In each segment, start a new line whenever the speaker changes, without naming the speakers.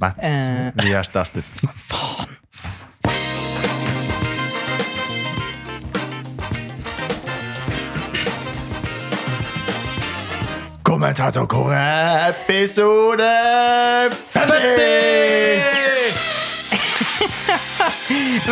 Nei,
Eh.
vi er det er slutt. Kommentatorkoret, episode 50!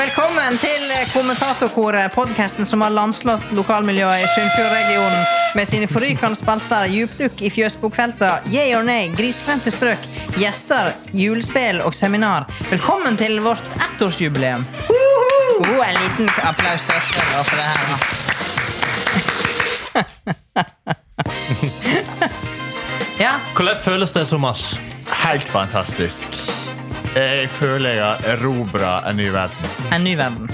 Velkommen til Kommentatorkoret, podkasten som har lamslått lokalmiljøet i Sunnfjordregionen med sine forrykende spalter, djupdukk i fjøsbokfelta, yeah or nay, grisgrendte strøk, gjester, julespill og seminar. Velkommen til vårt ettårsjubileum. Oh, en liten applaus til dere da, for det her. da. Ja,
Hvordan føles det, Thomas?
Helt fantastisk. Jeg føler jeg har erobra en ny verden.
en ny verden.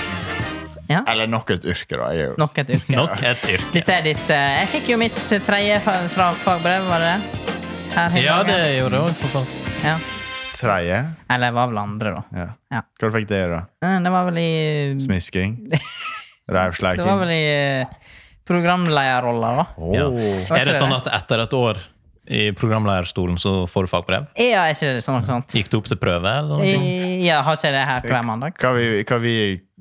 Ja,
Eller nok et yrke, da. Jeg er jo
nok et yrke.
Nok et yrke.
Dette er ditt eh, Jeg fikk jo mitt tredje fa- fra fagbrev, var det det? Her hele
Ja,
dagen.
det gjorde jeg òg, for sånn.
ja.
tredje.
Eller det var vel andre, da.
Ja.
Ja.
Hva fikk det, da?
Eh, Det var vel i
Smisking?
Det var vel
Rævsleiking?
i eh, programlederrolla, da.
Åh.
Ja.
Hva
Er det
skjer
sånn
det?
at etter et år i programlederstolen så får du fagbrev?
Ja, er ikke det sånn noe sånt?
Gikk du opp til prøve, eller noe? sånt?
I- Ja, har ikke det her hver mandag?
Hva vi, hva vi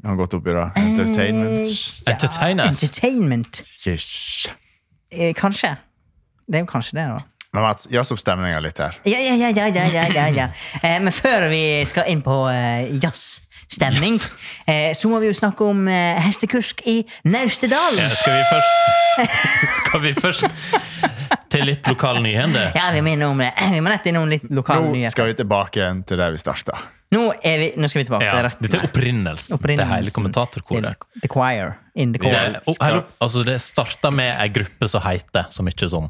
har gått opp i, da?
Eh,
Entertainment?
Ja,
Entertainers.
entertainment.
Yes.
Eh, Kanskje. Det er jo kanskje det, da.
Men Mats, jazz opp stemninga litt her.
Ja, ja, ja, ja, ja, ja, ja, ja. Eh, men før vi skal inn på eh, jazzstemning, eh, så må vi jo snakke om eh, hestekursk i Naustedal.
Ja, skal vi først Skal vi først til litt lokal nyhende?
Ja, vi må innom det. Vi må rett innom litt lokale
Nå
nyheter.
skal vi tilbake igjen til der vi starta.
Nå, er vi, nå skal vi tilbake
Ja,
til resten.
dette er
her.
opprinnelsen til
Opprinnelsen.
hele kommentatorkoret.
Til The choir. In the
Det,
choir.
er- og- hele- altså, det starta med ei gruppe som heter så mye som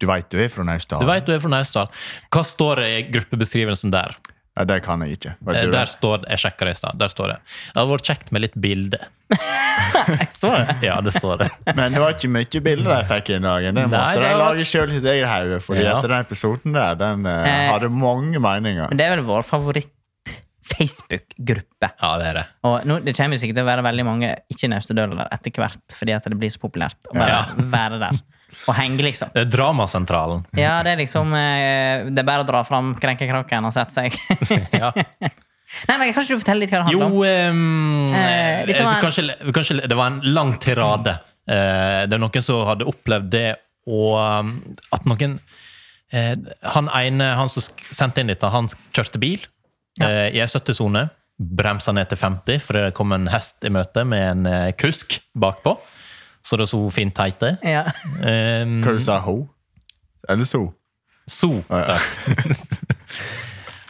Du veit du er fra Naustdal?
Du veit du er fra Naustdal. Hva står det i gruppebeskrivelsen der?
Nei, det kan jeg ikke. Vet
Eh,
du
Der
det?
står det, Jeg sjekka det i stad. Der står det. Det hadde vært kjekt med litt bilde.
Står det?
Ja, det står det.
Men det var ikke mye bilder jeg fikk i dag. Det måtte
Nei, det
jeg
var-
lage sjøl sitt eget hode, Fordi
Ja.
etter den episoden der, den eh,
Eh.
hadde mange meninger.
Men det er vel vår favoritt-Facebook-gruppe.
Ja, det er det.
Og nå, Det kommer jo sikkert til å være veldig mange ikke-naustedølere etter hvert, fordi at det blir så populært å bare
Ja.
være der og henge, liksom.
Det er Dramasentralen.
Ja, det er liksom eh, Det er bare å dra fram krenkekraken og sette seg.
Ja.
Nei, men Kan ikke du fortelle litt hva det handler om?
Jo ehm,
Eh, dette
eh,
var en-
kanskje, kanskje Det var en lang tirade. Eh, det er noen som hadde opplevd det, og um, at noen eh, Han ene, han som sk- sendte inn dette, han kjørte bil eh, i ei 70-sone. Bremsa ned til 50 fordi det kom en hest i møte med en eh, kusk bakpå. Så det så fint heite.
Ja.
Um,
Hva du sa ho? Eller so?
So.
ja.
takk.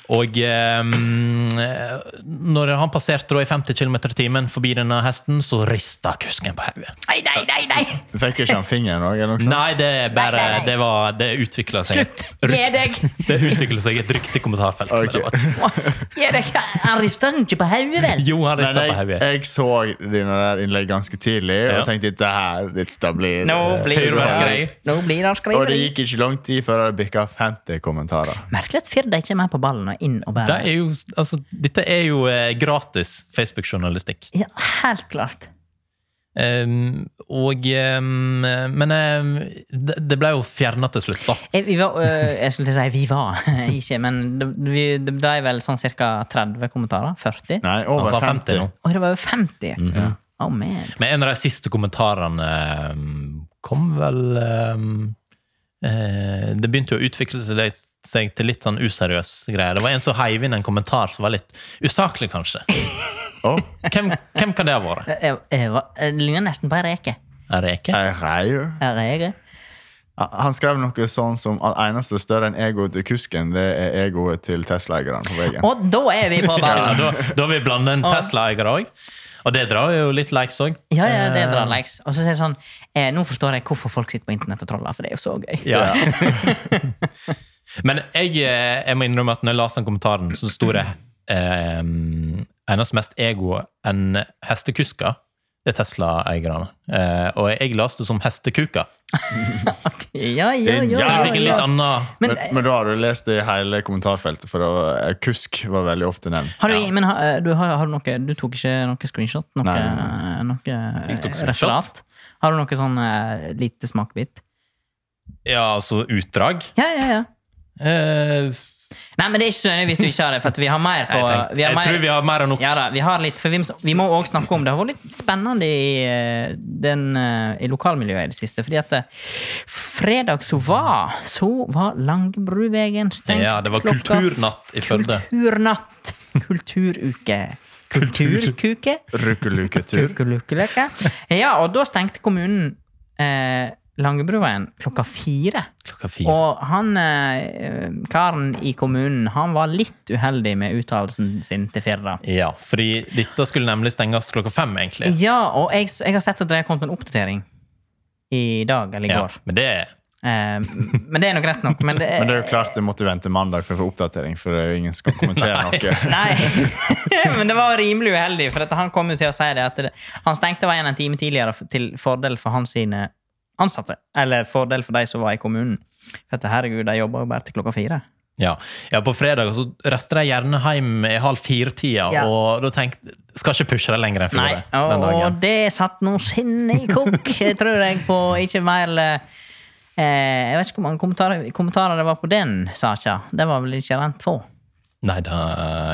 og ehm, eh, når han passerte da i 50 km i timen forbi denne hesten, så rista kusken på hodet.
Nei, nei, nei! nei.
Du fikk ikke han fingeren òg? eller noe sånt?
Nei, det er bare
Nei, nei, nei.
Det, var, det utvikla seg
Slutt! Gi deg!
Det utvikla seg et rykte i kommentarfeltet. men det
Ok.
var ikke-
Gi deg! Han rister den ikke på hodet, vel?
Jo, han
Men
rista på
jeg,
hodet.
jeg så dine der innlegg ganske tidlig
Ja.
og tenkte dette her, dette blir
Nå blir det
Eh, Fyrverkeri.
Nå blir det
Og
altså
det
skriveri.
gikk ikke lang tid før det bikka 50 kommentarer.
Merkelig at Firda ikke er mer på ballen og inn og
Det
bærer.
er jo, altså, dette er jo eh, gratis Facebook-journalistikk.
Ja, helt klart.
Ehm, og ehm, Men ehm, det, det ble jo fjerna til slutt, da.
Eh, Vi var, øh, jeg skulle til å si vi var, ikke, men det, vi, det ble vel sånn ca. 30 kommentarer. 40.
Nei, over
Han sa
50.
50 nå.
Og det var jo 50!
Mhm.
Oh man.
Men en av de siste kommentarene um, kom vel um, eh, Det begynte jo å utvikle seg litt- seg til litt sånn useriøs greier. Det var en som heiv inn en kommentar som var litt usaklig, kanskje.
Å,
Hvem, hvem kan det ha vært?
Jeg, jeg, var- jeg ligner nesten på ei reke.
Er det ikke?
jeg reier.
Ei reke.
Han skrev noe sånn som at eneste større enn egoet til kusken, det er egoet til Tesla-eierne på veien.
Og da er vi på
Ja,
ballen!
da, da har vi blanda en Tesla-eier òg. Og det drar jo litt likes òg.
Ja, ja,
Eh.
det drar likes. Og så sier det sånn eh, Nå forstår jeg hvorfor folk sitter på internett og troller, for det er jo så gøy.
Ja. Men jeg, eh, jeg må innrømme at når jeg leste den kommentaren, så sto det eh, hennes mest ego enn hestekusker. Det er Tesla-eierne. Eh, og jeg leste det som hestekuker.
Ja, ja, ja,
Så jeg fikk
ja,
en litt
ja.
annen
Men,
Men,
men, da har du lest det i hele kommentarfeltet, for det var, eh, kusk var veldig ofte nevnt.
Har du, men har, du, har, har du noe Du tok ikke noe screenshot? Noe,
Nei, nei,
noe eh,
tok screenshot.
referat? Har du noe sånn eh, lite smakbit?
Ja, altså utdrag.
Ja, ja, ja.
Eh,
Nei, men det er ikke så nøye hvis du ikke har det, for at vi har mer på
Jeg, tenker,
vi har
jeg
mer,
tror vi har mer enn nok.
Ja da, vi har litt, for vi, må- vi må òg snakke om Det har vært litt spennende i, eh, den, eh, i lokalmiljøet i det siste. fordi at eh, fredag så var så var Langebruvegen stengt.
Ja, det var
klokka
kulturnatt i Førde.
Kulturnatt. Kulturuke. Kulturkuke.
Rukkeluketur.
Kukulukkeleke. Ja, og da stengte kommunen eh, Langebruveien klokka fire.
Klokka fire.
Og han eh, karen i kommunen han var litt uheldig med uttalelsen sin til Firda.
Ja, fordi dette skulle nemlig stenges klokka fem, egentlig.
Ja, og jeg, jeg har sett at det har kommet en oppdatering i dag eller i
Ja,
går.
men det er
Eh, men det er nok greit nok. Men det,
Men det er jo klart det måtte vente mandag for å få oppdatering, for det er jo ingen som kan kommentere noe.
Nei, men det var rimelig uheldig, for at han kom jo til å si det at det, han stengte veien en time tidligere f- til fordel for hans sine ansatte. Eller fordel for de som var i kommunen. For at, herregud, de jobber jo bare til klokka fire.
Ja, ja på fredag så rester jeg gjerne hjem i halv fire-tida,
Ja.
og da tenkte skal ikke pushe det lenger enn
Nei,
fjoråret. den
og, og
dagen.
det satt noe sinne i kok, tror jeg, på ikke mer eh, Jeg vet ikke hvor mange kommentarer, kommentarer det var på den saka. Det var vel ikke rent få.
Nei da,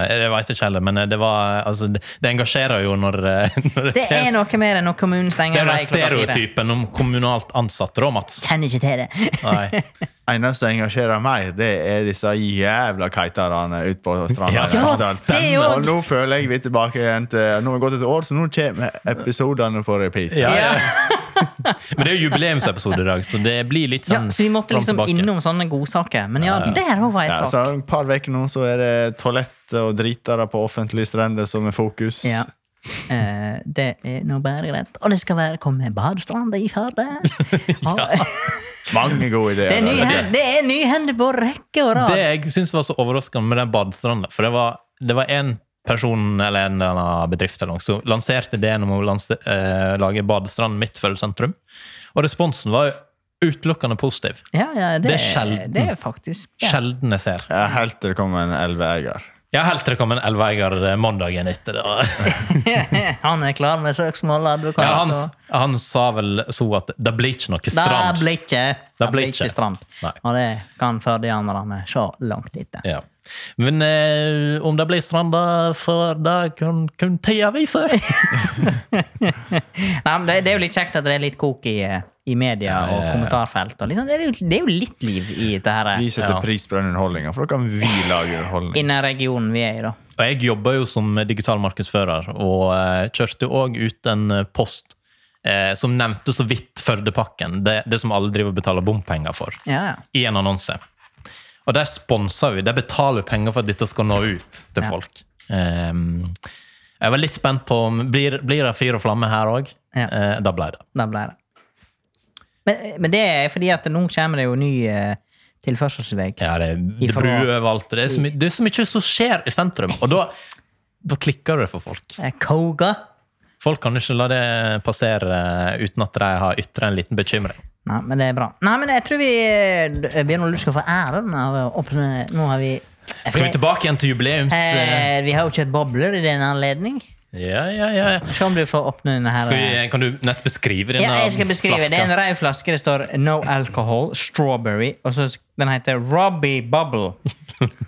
jeg veit ikke heller, men det var altså, Det, det engasjerer jo når, eh, når det
Det
skjer.
er noe mer enn når kommunen
Det
stenger
er jo
vei
den
klokka fire.
stereotypen om kommunalt ansatte, da, Mats.
Kjenner ikke til det.
Nei.
eneste som engasjerer meg, det er disse jævla kiterne ute på stranda.
Ja,
i Namsdalen.
det er jo-
og nå føler jeg vi er tilbake igjen til Nå har det gått et år, så nå kommer episodene på repeat.
Ja, ja.
Ja.
Men det er jo jubileumsepisode i dag, så det blir litt
Ja,
sånn
så vi måtte
fram
liksom
tilbake.
innom sånne godsaker. Men ja, der òg var
Ja,
ei
så
sak.
om et par uker nå så er det toalett og dritere på offentlige strender som er fokus.
Ja. Eh, det er nå bare greit. Og det skal være komme badestrand i Førde. Og-
Mange gode
Det
ideer.
er ny
der.
hen- det er nyhender på rekke og
Det
rad.
jeg syns var så overraskende med den badestranda, for det var, det var en person eller en eller annen bedrift eller noe, som lanserte ideen om å lanse, eh, lage badestrand midt for sentrum. Og responsen var jo utelukkende positiv.
Ja, ja, det,
Det er
er
sjelden.
det er faktisk ja.
Sjelden jeg ser.
Jeg er helt til det kommer en elveeier.
Jeg har helt til det kom en elveeier eh, mandagen etter. det.
Han er klar med søksmål, advokat.
Ja, han,
og-
han sa vel så at det blir ikke noe
Det
strand.
blir ikke,
Det
det
blir
blir ikke
ikke.
strand.
Nei.
Og det kan førdeanerne se langt etter.
Ja. Men eh, om det blir stranda, for det kun, kun tida vise.
Nei, men det, det er jo litt kjekt at det er litt kok i, eh, i media
Ja, ja,
og
ja.
kommentarfelt. Og liksom, det, er jo, det er jo litt liv i dette her eh,
Vi setter
Ja.
pris på den underholdninga, for da kan vi lage underholdning.
innen regionen vi er i, da.
Og jeg jobber jo som digital markedsfører, og eh, kjørte òg ut en eh, post eh, som nevnte så vidt Førdepakken, det, det som alle driver og betaler bompenger for,
Ja, ja.
i en annonse. Og der sponser vi, der betaler vi penger for at dette skal nå ut til
Ja.
folk. Ehm, jeg var litt spent på om blir, blir det fyr og flamme her òg.
Ja.
Eh, da ble det.
Da ble det. Men, eh, men det er fordi at nå kommer det jo ny eh, tilførselsvei.
Ja, det, det
Ifra-
bruer overalt. Det er, så my det er så mye som skjer i sentrum. Og da, da klikker det for folk.
Eh, Koga.
Folk kan ikke la det passere eh, uten at de har ytra en liten bekymring.
Nei, men det er bra. Nei, men jeg tror vi eh, Bjørn og Lund skal få æren av å åpne Nå har vi
Skal vi tilbake igjen til jubileums... eh,
Eh, vi har jo kjøpt bobler i den anledning.
Ja, ja, ja. ja.
Se om du får åpne denne her.
Skal
eh,
vi, kan du nett beskrive denne
Ja, jeg skal beskrive. Det er en rød flaske. Det står No Alcohol, Strawberry. Og så den heter Robbie Bubble.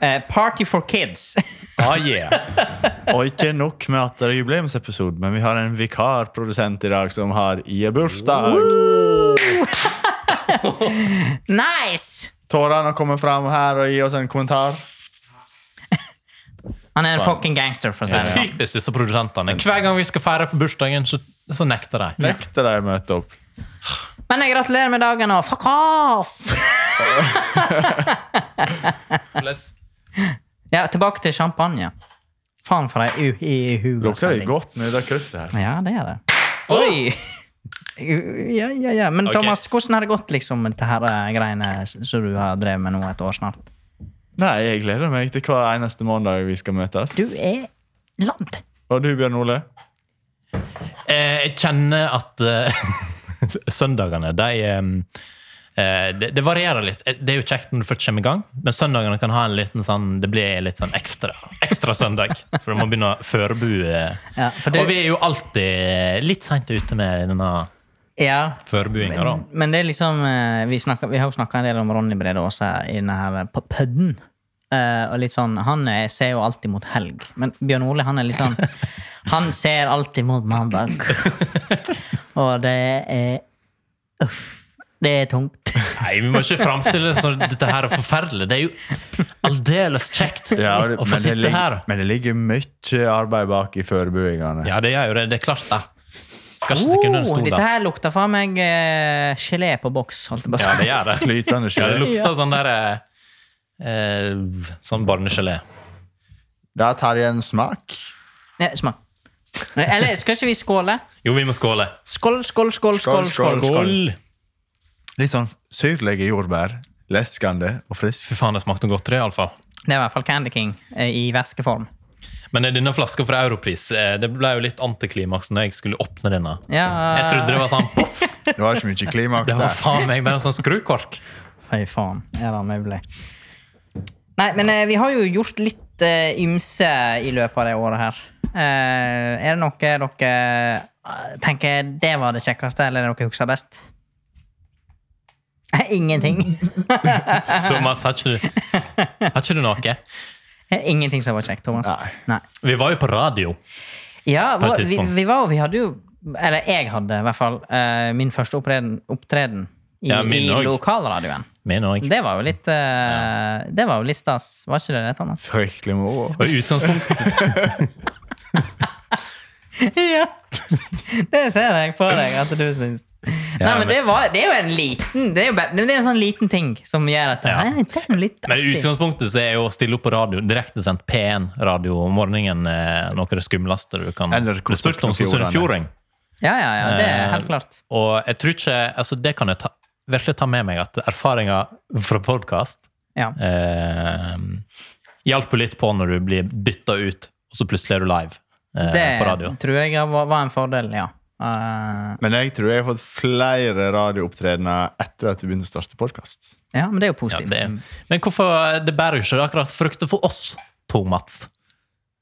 Eh, party for Kids.
Ah, yeah.
Og ikke nok med at det er jubileumsepisode, men vi har en vikarprodusent i dag som har IA-bursdag.
nice!
Tårene kommer fram her og gir oss en kommentar.
Han er en fucking gangster, for å si det sånn.
Typisk disse produsentene. Hver gang vi skal feire på bursdagen, så, så nekter de.
Nekter de å møte opp.
Men jeg gratulerer med dagen, og fuck off! Ja, tilbake til champagne. Faen for ei uhu...
Lukter det godt med det kruttet her?
altså. Ja, det er det. Oi! Ja, ja, ja. Men
Ok.
Thomas, hvordan har det gått liksom, med dette her eh, greiene som du har drevet med nå et år snart?
Nei, jeg gleder meg til hver eneste mandag vi skal møtes.
Du er land.
Og du, Bjørn Ole?
Eh, jeg kjenner at eh, søndagene, de eh, eh, det, det varierer litt. Eh, Det er jo kjekt når du først kommer i gang, men søndagene kan ha en liten sånn Det blir litt sånn ekstra, ekstra søndag. For du må begynne å forberede.
Ja, for det-
Og vi er jo alltid eh, litt seint ute med denne
Ja,
forberedinga, da.
Mm. men det er liksom eh, Vi, snakker, vi har jo snakka en del om Ronny Brede Aase i denne her eh, på Pødden. eh, og litt sånn, Han er, ser jo alltid mot helg, men Bjørn Ole han er litt sånn Han ser alltid mot mandag. og det er Uff. Det er tungt.
Nei, vi må ikke framstille det som dette her er forferdelig. Det er jo aldeles kjekt
Ja, det-
å få
men, det
sitte her.
ligger, men det ligger mye arbeid bak i forberedelsene.
Ja, det gjør jo det. Det er klart det. Skal ikke stikke under en
Oh,
stol,
dette
da.
her lukter faen meg eh, gelé på boks. holdt jeg på å si.
Ja, det gjør det.
Flytende
Ja, det
skjell.
lukter sånn der eh, eh, Sånn barnegelé.
Da tar jeg en smak.
Nei, Smak. Nei, Eller skal ikke vi skåle?
Jo, vi må skåle.
Skål, skål, skål. skål,
Skål, skål.
skål.
Skål!
Litt sånn syrlige jordbær. Leskende og frisk.
Fy faen, det smakte godt, det, iallfall.
Det er i hvert fall Candy King eh, i væskeform.
Men eh, denne flaska fra Europris eh, det ble jo litt antiklimaks når jeg skulle åpne denne.
Ja.
Jeg trodde det var sånn poff!
Det var ikke mye klimaks
Det var
der.
faen meg bare en sånn skrukork.
Fy faen, er det mulig? Nei, men eh, vi har jo gjort litt eh, ymse i løpet av det året her. Eh, er det noe dere eh, tenker det var det kjekkeste, eller er det dere husker best? Ingenting.
Thomas, har ikke du, har ikke du noe?
Ingenting som var kjekt, Thomas.
Nei.
Nei.
Vi var jo på radio.
Ja,
På et
hva- vi,
tidspunkt.
vi var jo Vi hadde jo Eller jeg hadde i hvert fall eh, min første oppreden, opptreden i,
Ja, min
i
også.
lokalradioen.
Min òg.
Det var jo litt eh, Det var jo litt stas. Var ikke det det, Thomas?
Fryktelig moro.
Og i utgangspunktet
ja. Det ser jeg på deg at du syns. Nei,
Ja,
men
men-
det, var, det er jo en liten Det er jo bare- det er en sånn liten ting som gjør at
Ja.
Nei, det er jo litt
Men i
artig.
utgangspunktet så er jo å stille opp på radio, direktesendt P1-radio om morgenen, eh, noe av det skumleste du kan
Eller
bli spurt om som
Sunnfjordane.
sunnfjording.
Ja, ja, ja. Det
Eh,
er helt klart.
Og jeg tror ikke Altså, det kan jeg ta, virkelig ta med meg, at erfaringer fra podkast
Ja.
eh, hjalp jo litt på når du blir dytta ut, og så plutselig er du live eh, på radio.
Det tror jeg var, var en fordel, ja. Eh,
Men jeg tror jeg har fått flere radioopptredener etter at vi begynte å starte podkast.
ja, men det er jo
Ja,
positivt.
det, men hvorfor det bærer jo ikke akkurat frukter for oss, Thomas?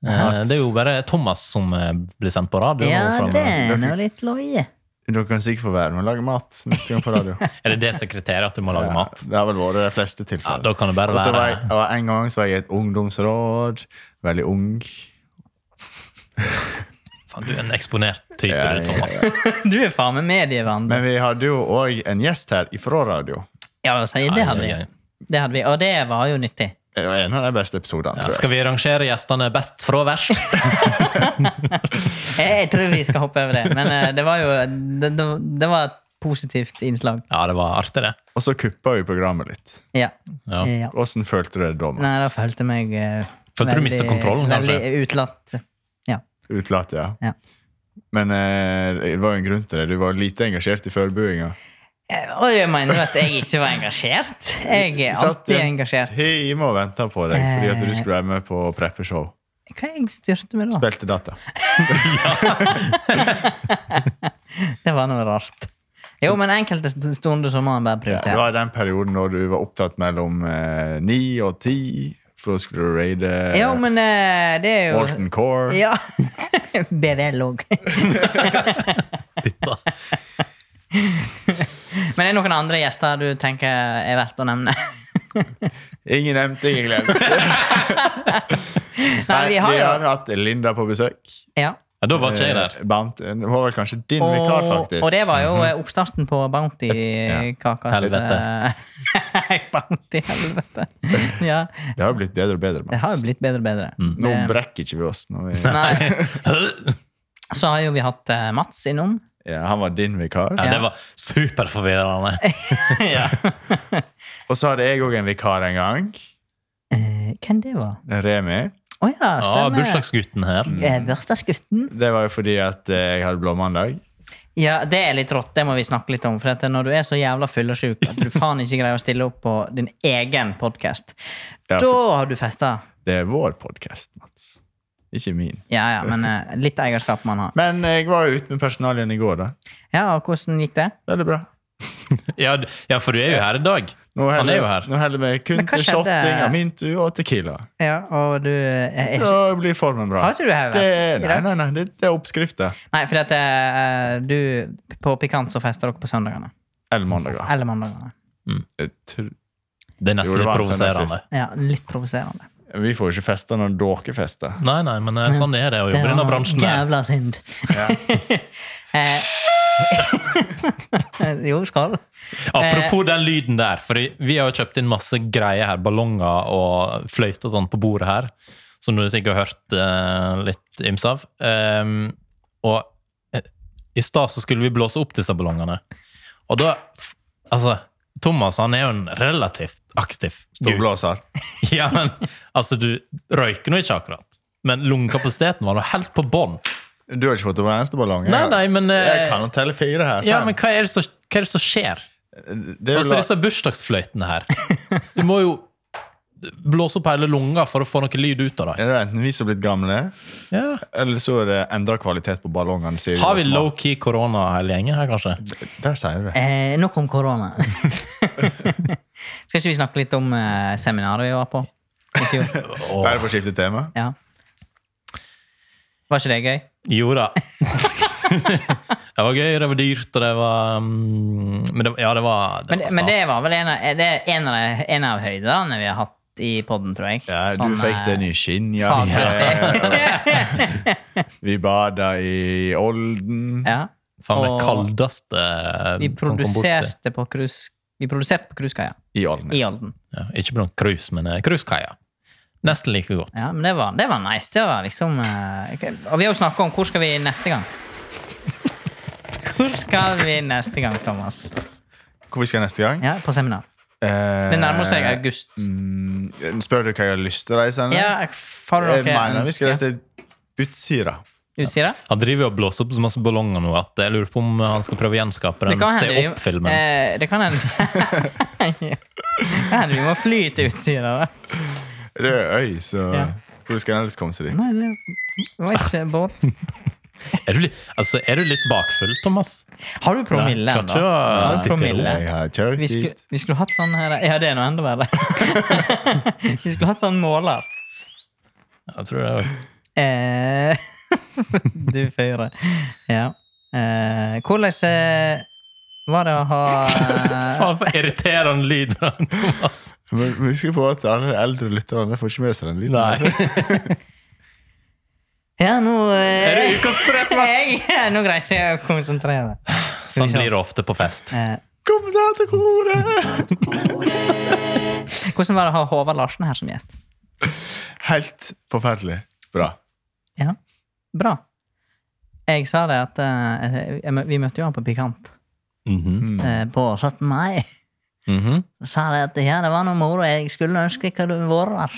Eh,
Mats.
det er jo bare Thomas som eh, blir sendt på radio. nå
Ja,
fra-
det er nå litt løye.
Dere kan sikkert få være med og lage mat neste gang på radio.
Er det det som er kriteriet, at du må lage
Ja,
mat?
Det har vel vært de fleste
Ja,
tilfeller.
da kan det bare
Og så var
være
jeg, og en gang så var jeg i et ungdomsråd. Veldig ung.
Faen, du er en eksponert type,
Ja,
du,
ja,
Thomas.
Du er faen meg medievandrer.
Men vi hadde jo òg en gjest her ifra radio.
Ja, altså, det hadde vi.
Ai, ai, ai.
Det hadde vi. Og det var jo nyttig.
Det var en av de beste episodene,
Ja,
tror jeg.
skal vi rangere gjestene best fra verst?
Jeg, jeg tror vi skal hoppe over det, men eh, det var jo det, det, det var et positivt innslag.
Ja, det var artig, det.
Og så kuppa vi programmet litt.
Ja.
Ja.
Eh, ja.
Hvordan følte du det da,
Nei, da
Mats?
følte jeg meg eh,
Følte du mistet kontrollen, kanskje?
Veldig utlatt. Ja.
Utelatt, ja.
Ja.
Men eh, det var jo en grunn til det. Du var lite engasjert i forberedinga.
Eh, Og jeg mener at jeg ikke var engasjert. Jeg er alltid engasjert. Eh.
Time og venta på deg fordi at du skulle være med på preppeshow.
Hva jeg styrte med da?
Spilte data.
Det var noe rart. Jo, men enkelte st- stunder så må
Ja,
man bare
det
prioritere.
var den perioden da du var opptatt mellom eh, ni og ti, for da skulle du raide
Jo, men eh, det er jo
Morton Core.
Ja. BVL òg.
Dette.
Men er det noen andre gjester du tenker er verdt å nevne?
Ingen nevnte, ingen glemte.
Nei, vi har jo
hatt Linda på besøk.
ja.
Ja, da var ikke jeg der.
Eh, Bant, hun var vel kanskje din
og,
vikar, faktisk.
og det var jo eh, oppstarten på Bounty-kakas
Mhm. Helvete.
eh, Bounty-helvete. Ja.
Det har jo blitt bedre og bedre. Mats.
Det har jo blitt bedre og bedre.
Nå
Det-
brekker ikke vi oss. Når vi,
Nei. Så har jo vi hatt eh, Mats innom.
ja, han var din vikar.
Ja, det var superforvirrende.
ja.
Og så hadde jeg òg en vikar en gang.
Eh, Hvem det var?
Remi.
Å ja,
Ah,
Ja,
stemmer.
bursdagsgutten her.
Eh, Bursdagsgutten.
Det var jo fordi at eh, jeg hadde blåmandag.
Ja, det er litt rått. Det må vi snakke litt om. For at når du er så jævla fyllesyk at du faen ikke greier å stille opp på din egen podkast,
Ja,
da
for
har du festa.
det er vår podkast, Mats. Ikke min.
Ja, ja, men eh, litt eierskap man har.
Men eh, jeg var jo ute med personalet igjen i går, da.
Ja, og hvordan gikk det?
Veldig bra.
Ja, d- ja, for du er jo her i dag.
Nå
Han er
heller-
jo her.
Nå heller vi kun
Men hva
til
skjedde?
shotting av Mintu og Tequila.
Ja, og du eh, er,
Da blir formen bra.
Har ikke du
Det er,
hodet?
nei, nei, nei, det, det er oppskrifta.
Nei, fordi at eh, du På Pikant så fester dere på søndagene.
Eller mandager.
Eller mandagene.
Jeg tror-
Det er nesten
Jo, det
litt
var en
provoserende.
Ja, litt provoserende.
Vi får jo ikke feste når dere fester.
Nei, nei, men eh, sånn er det å
Det
jobbe i denne
var
bransjen. der.
Jævla synd.
Ja.
Eh, jo, skal.
Apropos den lyden der, for vi har jo kjøpt inn masse greier her, ballonger og fløyte og sånn på bordet her, som du sikkert har hørt eh, litt yms av. Ehm, og eh, i stad så skulle vi blåse opp disse ballongene. Og da f- Altså, Thomas han er jo en relativt aktiv gutt.
Storblåser.
Ja, men altså, du røyker nå ikke akkurat. Men lungekapasiteten var nå helt på bånn.
Du har ikke fått over en eneste ballong?
Nei, nei, men eh,
Jeg kan jo telle fire her.
Ja,
fem.
men hva er det som, hva er det som skjer?
det er
Og så
jo la...
disse bursdagsfløytene her. Du må jo blåse opp hele lunga for å få noe lyd ut av det.
Er det enten vi som er blitt gamle,
Ja.
eller så er det endra kvalitet på ballongene? sier
Har vi
Jonas Mann.
low-key korona hele gjengen her, kanskje?
Der sier du det.
Eh, nok om korona. Skal ikke vi snakke litt om eh, seminaret vi var på i fjor?
Åh.
Bare for å skifte tema.
Ja. Var ikke det gøy?
Jo da. Det var gøy, det var dyrt, og det var mm, Men det, ja, det var, det
Men,
var
men det
stas.
var vel en av, er det en av, de- en av høydene vi har hatt i podden, tror jeg.
Ja,
Sånn,
du fikk
eh,
deg ny skinnjakke. Vi bada i Olden.
ja.
Faen, det
og-
kaldeste
Vi
man kom bort til.
produserte på krus- vi produserte på cruisekaia
I Olden.
i Olden.
Ja, ikke på noen cruise, men eh, cruisekaia. Nesten like godt.
Ja, men det var, det var nice. Det var liksom eh, ok. Og vi har jo snakka om hvor skal vi neste gang. Hvor skal vi neste gang, Thomas?
Hvor vi skal neste gang? Eh,
Ja, På seminar. Det nærmer seg
Eh,
august.
Mm, spør du hva jeg har lyst til å reise? eller?
Ja, har du
Eh,
jeg
noe
mener vi skal reise til Utsira.
Utsira?
Han driver jo og blåser opp så masse ballonger nå at jeg lurer på om han skal prøve å gjenskape
Det
den
kan hende
Se
vi-
opp-filmen.
eh, Det kan hende Det kan hende vi må fly til Utsira, da.
Det er jo øy, så
Ja.
hvor skal en ellers komme seg dit?
Nei, det var ikke båt.
Er du, li- altså, er du litt bakfull, Thomas?
Har du promille
Nei, klart
ennå?
ikke å
Har du
sitte i ro.
promille?
Jeg har kjørt
Vi skulle,
dit.
vi skulle hatt sånn her Ja, det er noe enda verre. vi skulle hatt sånn måler.
Jeg tror det er
Eh, du fyrer. Ja. Eh, hvordan eh, var det å ha eh,
Faen, for irriterende lyd av Thomas.
Men men husk på at alle de eldre lytterne får ikke med seg den lyden.
Nei.
Ja, nå
Er det
eh,
ukas treff, Mats?
jeg, ja, Nå greier ikke jeg å konsentrere meg.
Sånn blir det ofte på fest.
Eh,
Kom deg til koret!
hvordan var det å ha Håvard Larsen her som gjest?
Helt forferdelig bra.
Ja, bra. Jeg sa det at eh, jeg- Vi møtte jo han på Pikant
Mhm.
Mm.
eh, på 17. mai.
Mhm.
sa de at ja, det var noe moro. Jeg skulle ønske jeg hadde vært der.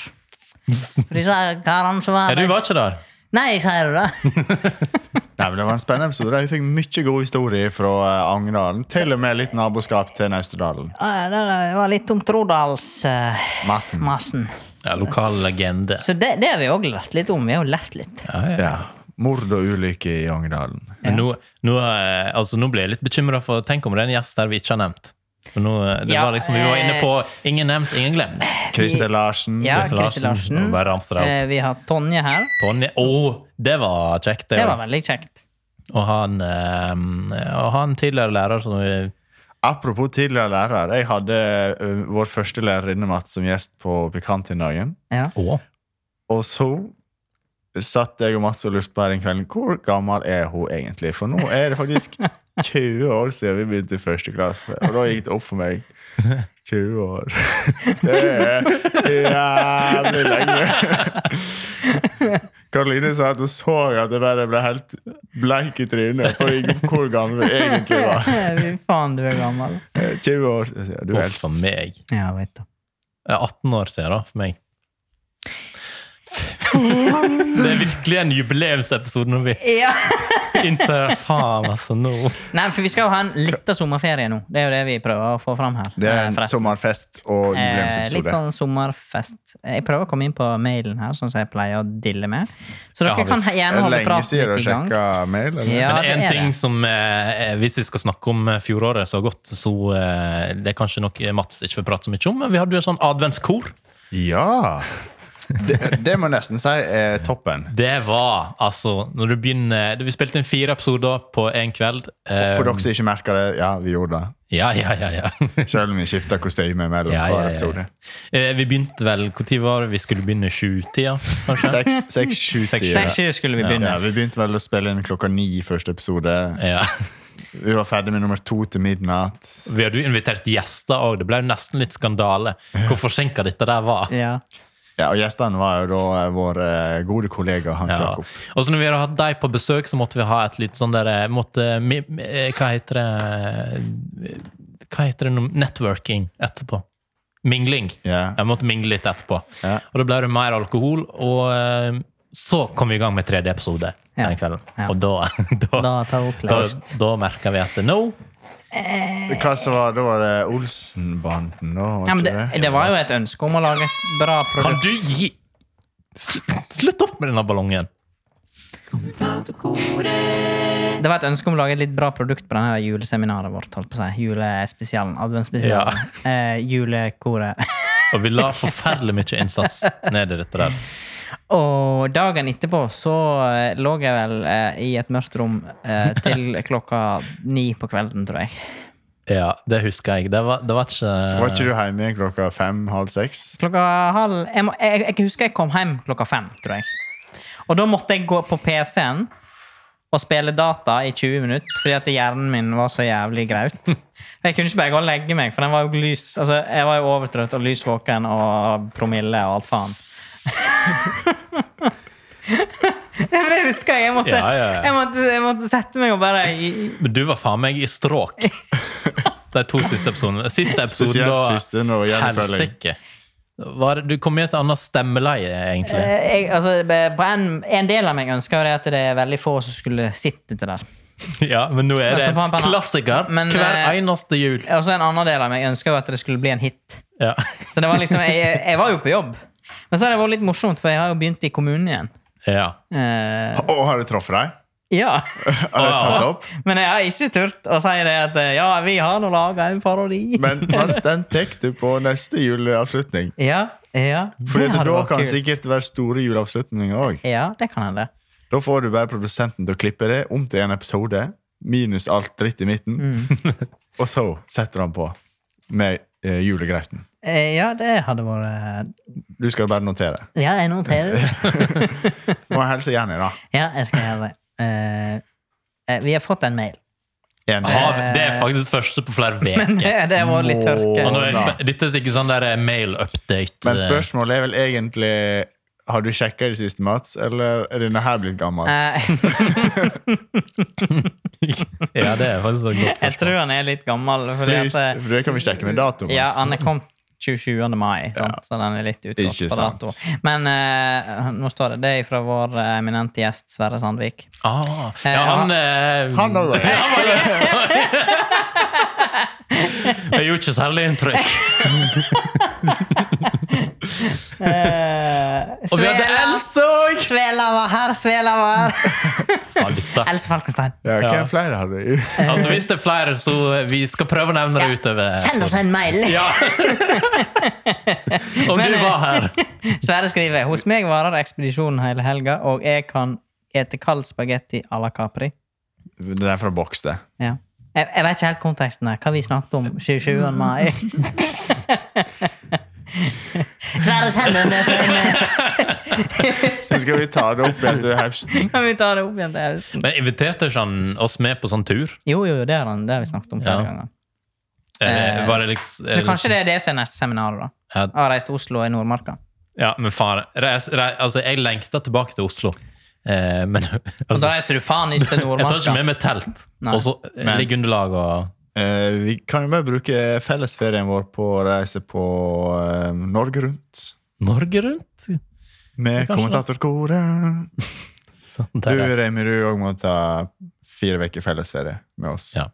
For de sa karene som var
Ja, du
der.
var ikke der.
Nei, sier du det?
Nei, men Det var en spennende episode. Vi fikk mye gode historier fra eh, Angerdalen. Til og med litt naboskap til Nausterdalen.
Ja, ja, det det var litt om Trodalsmassen.
Massen.
Ja, lokal legende.
Så det, det har vi òg lært litt om. Vi har jo lært litt.
Ja, ja.
Ja. Mord og ulykke i Angerdalen.
Men nå, nå, eh, altså, nå ble jeg litt bekymra, for tenk om det er en gjest her vi ikke har nevnt. For nå, eh, det
Ja, eh,
var liksom, Vi var inne på ingen nevnt, ingen glemt.
Christer Larsen.
Ja,
Kristian
Kristian Larsen.
og Bare ramser det opp.
Eh, vi har Tonje her.
Tonje Å, det var kjekt, det.
Det
ja.
var veldig kjekt.
Og han, eh, og han tidligere lærer som vi
Apropos tidligere lærer. Jeg hadde eh, vår første lærerinne Mats som gjest på Pikant den dagen.
Ja.
Å,
Og så satt jeg og Mats og lurte på her en kveld hvor gammel er hun egentlig? For nå er det faktisk 20 år siden vi begynte i første klasse. Og da gikk det opp for meg. 20 år. Det er jævlig lenge. Karoline sa at hun så at jeg bare ble helt bleik i trynet for hvor gammel vi egentlig var.
Fy faen, du er gammel.
20 år siden. Du er
Uff
eldst.
a meg.
Ja, veit du.
Det er 18 år siden, da, for meg. Det er virkelig en jubileumsepisode når vi
Ja.
innser faen, altså, nå
Nei, for vi skal jo ha en liten sommerferie nå. Det er jo det vi prøver å få fram her.
Det er
eh,
en
forresten.
sommerfest og
Eh, litt
jubileumsepisode.
sånn sommerfest. Jeg prøver å komme inn på mailen her, sånn som jeg pleier å dille med. Så
Ja,
dere
vi-
kan he-
Er
gjerne
det
holde
lenge
praten
siden du
litt i gang.
sjekka mail? eller?
Ja,
Men
det
en
er
ting
det.
som eh, eh, Hvis vi skal snakke om eh, fjoråret så godt, så eh, det er kanskje noe Mats ikke får prate så mye om, men vi hadde jo en sånn adventskor.
Ja! Det, det må jeg nesten si er toppen.
Det var altså når du begynner, Vi spilte inn fire episoder på én kveld. eh,
For dere som ikke merker det, ja, vi gjorde det.
Ja, ja, ja. ja.
Selv om vi skifter kostyme mellom
ja, ja,
hver
ja, ja.
episode.
Eh, Vi begynte vel Når var det vi skulle begynne? Sjutida, kanskje?
Seks, seks, sju,
Seks,
tider.
Seks sju skulle vi begynne.
Ja, vi begynte vel å spille inn klokka ni i første episode.
Ja.
Vi var ferdig med nummer to til midnatt.
Vi hadde jo invitert gjester òg. Det ble jo nesten litt skandale hvor forsinka dette der var.
Ja.
Ja, og gjestene var jo da eh, vår eh, gode kollega Hans
Ja.
Jakob.
Og så når vi hadde hatt deg på besøk, så måtte vi ha et litt sånn der eh, måtte, mi- eh, Hva heter det eh, Hva heter det nå? Networking etterpå. Mingling.
Ja.
Jeg måtte mingle litt etterpå.
Ja.
Og da ble det mer alkohol, og eh, så kom vi i gang med tredje episode
Ja.
den kvelden.
Ja.
Og da Da, da,
Da tar vi opp
da,
litt.
merka vi at nå
Hva som var da var det Olsenbanden, da? var
Ja, men
ikke
det, det var jo et ønske om å lage et bra
kan
produkt.
du gi Sl- Slutt opp med denne ballongen!
Det var et ønske om å lage et litt bra produkt på denne juleseminaret vårt. holdt på å si. Julespesialen. Adventsspesialen. Eh, julekoret.
Og vi la forferdelig mye innsats ned i dette der.
Og dagen etterpå så eh, lå jeg vel eh, i et mørkt rom eh, til klokka ni på kvelden, tror jeg.
Ja, det husker jeg. Det var, det var ikke
Var ikke du hjemme klokka fem-halv seks?
Klokka halv jeg, må, jeg, jeg husker jeg kom hjem klokka fem, tror jeg. Og da måtte jeg gå på PC-en og spille data i 20 minutter fordi at hjernen min var så jævlig graut. Jeg kunne ikke bare gå og legge meg, for den var jo lys. Altså, jeg var jo overtrøtt og lysvåken og promille og alt faen. det er det jeg husker. Jeg måtte,
Ja, ja, ja.
Jeg, måtte, jeg måtte sette meg og bare i-
Men du var faen meg i stråk. De to siste episodene. Siste episoden,
Spesielt
da
siste, når det gjelder følging.
Helsike. Var det- Du kom i et annet stemmeleie, egentlig.
Eh, jeg, altså, be- på en, en del av meg ønsker jo det at det er veldig få som skulle sitte til der.
Ja, Men nå er
Men
det
så Altså, på en
en
banan.
klassiker
Men,
hver
eh,
eneste jul.
Og så en annen del av meg ønsker jo at det skulle bli en hit.
Ja.
Så det var liksom, jeg, jeg var jo på jobb. Men så har det vært litt morsomt, for jeg har jo begynt i kommunen igjen.
ja.
Eh,
Å, har du truffet deg?
ja.
Har
Ah.
du tatt opp?
Men jeg har ikke turt å si det at eh, ja, vi har nå laga en parodi.
Men Mats, den tar du på neste juleavslutning.
Ja, ja.
Fordi
det
at
hadde
da
vært
kan
kult.
sikkert være store juleavslutninger òg.
Ja, det kan hende.
Da får du bare produsenten til å klippe det om til en episode, minus alt dritt i midten.
Mm.
og så setter han på med eh, julegreuten.
Eh, ja, det hadde vært eh,
Du skal bare notere.
Ja, jeg noterer det.
Må jeg hilse Jenny, da.
Ja, jeg skal gjøre det. Eh, eh, vi har fått en mail.
Jenny.
Har vi- Det er faktisk første på flere
Eh. Men eh,
uker.
det, det var litt
Og nå
tørke.
er jeg spen- Dette er sikkert sånn der eh, mail update. eh.
Men spørsmålet er vel egentlig Har du sjekka i det siste, Mats, eller er denne her blitt gammel?
Eh,
Ja, det er faktisk et godt
jeg
spørsmål.
tror han er litt gammel. Fordi
Please,
at, eh,
for det kan vi sjekke med dato.
ja,
Mats.
han er kommet 27. mai, sant?
Ja.
så den er litt utgått
Ikke
på
sant.
dato. Men eh, nå står det det er fra vår eh, eminente gjest Sverre Sandvik.
Ah, ja, han eh,
Han har det.
Jeg gjorde ikke særlig inntrykk.
Eh,
Og vi hadde
Svela-
Else òg!
Svela var her, Svela var her!
Ja, dette.
Else Falkenstein.
Ja, hvem
Ja.
flere har du?
Altså, hvis det er flere, så vi skal prøve å nevne det utover.
Send oss en mail!
Ja. Om
Men,
du
eh,
var her.
Sverre skriver hos meg varer ekspedisjonen hele helga, og jeg kan ete kald spagetti à la Capri.
Den er fra boks, det.
Ja. Jeg, jeg vet ikke helt konteksten her. Hva vi snakket om 27. mai? Sverre sender det
Så skal vi ta det opp igjen til høsten.
Kan vi ta det opp igjen til høsten?
Men inviterte ikke han oss med på sånn tur?
Jo, jo, det har, han, det har vi snakket om flere
Ja.
ganger.
Eh,
Eh,
var det liksom,
Så kanskje det er det som er neste seminar, da.
Ja.
Å reise til Oslo og i Nordmarka.
Ja, men faen. Reis, reis, altså, jeg lengta tilbake til Oslo. Eh, men
Og
altså,
da reiser du faen ikke til
jeg tar ikke
Nordmarka.
med meg telt.
Nei.
Og så eh,
Men-
ligger underlag og
Eh, vi kan jo bare bruke fellesferien vår på å reise på eh, Norge rundt.
Norge rundt?
Med
Kanskje det.
kommentatorkoret.
Sånn,
Du,
der, ja.
Remi, du òg må ta fire uker fellesferie med oss.
Ja.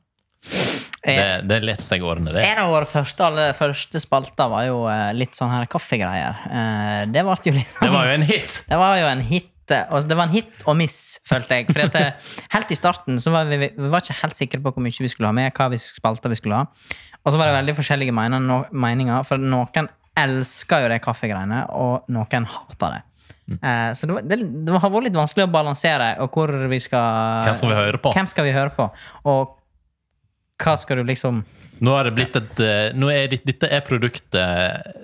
det,
Eh,
det lette seg å ordne, det.
En av våre første, aller første spalter var jo eh, litt sånn her kaffegreier. Eh, Det ble jo litt
Det var jo en hit.
Det var jo en hit. Altså, det var en hit og miss, følte jeg. For at det, helt i starten så var vi, vi var ikke helt sikre på hvor mye vi skulle ha med, hva vi spalta vi skulle ha. Og så var det veldig forskjellige mener- no- meninger, for noen elsker jo de kaffegreiene, og noen hater det.
Mm.
Eh, så det, var- det, det har vært litt vanskelig å balansere og hvor vi skal
Hvem skal vi høre på?
Hvem skal vi høre på? Og hva skal du liksom
Nå er, det blitt et, eh, nå er, det- dette er produktet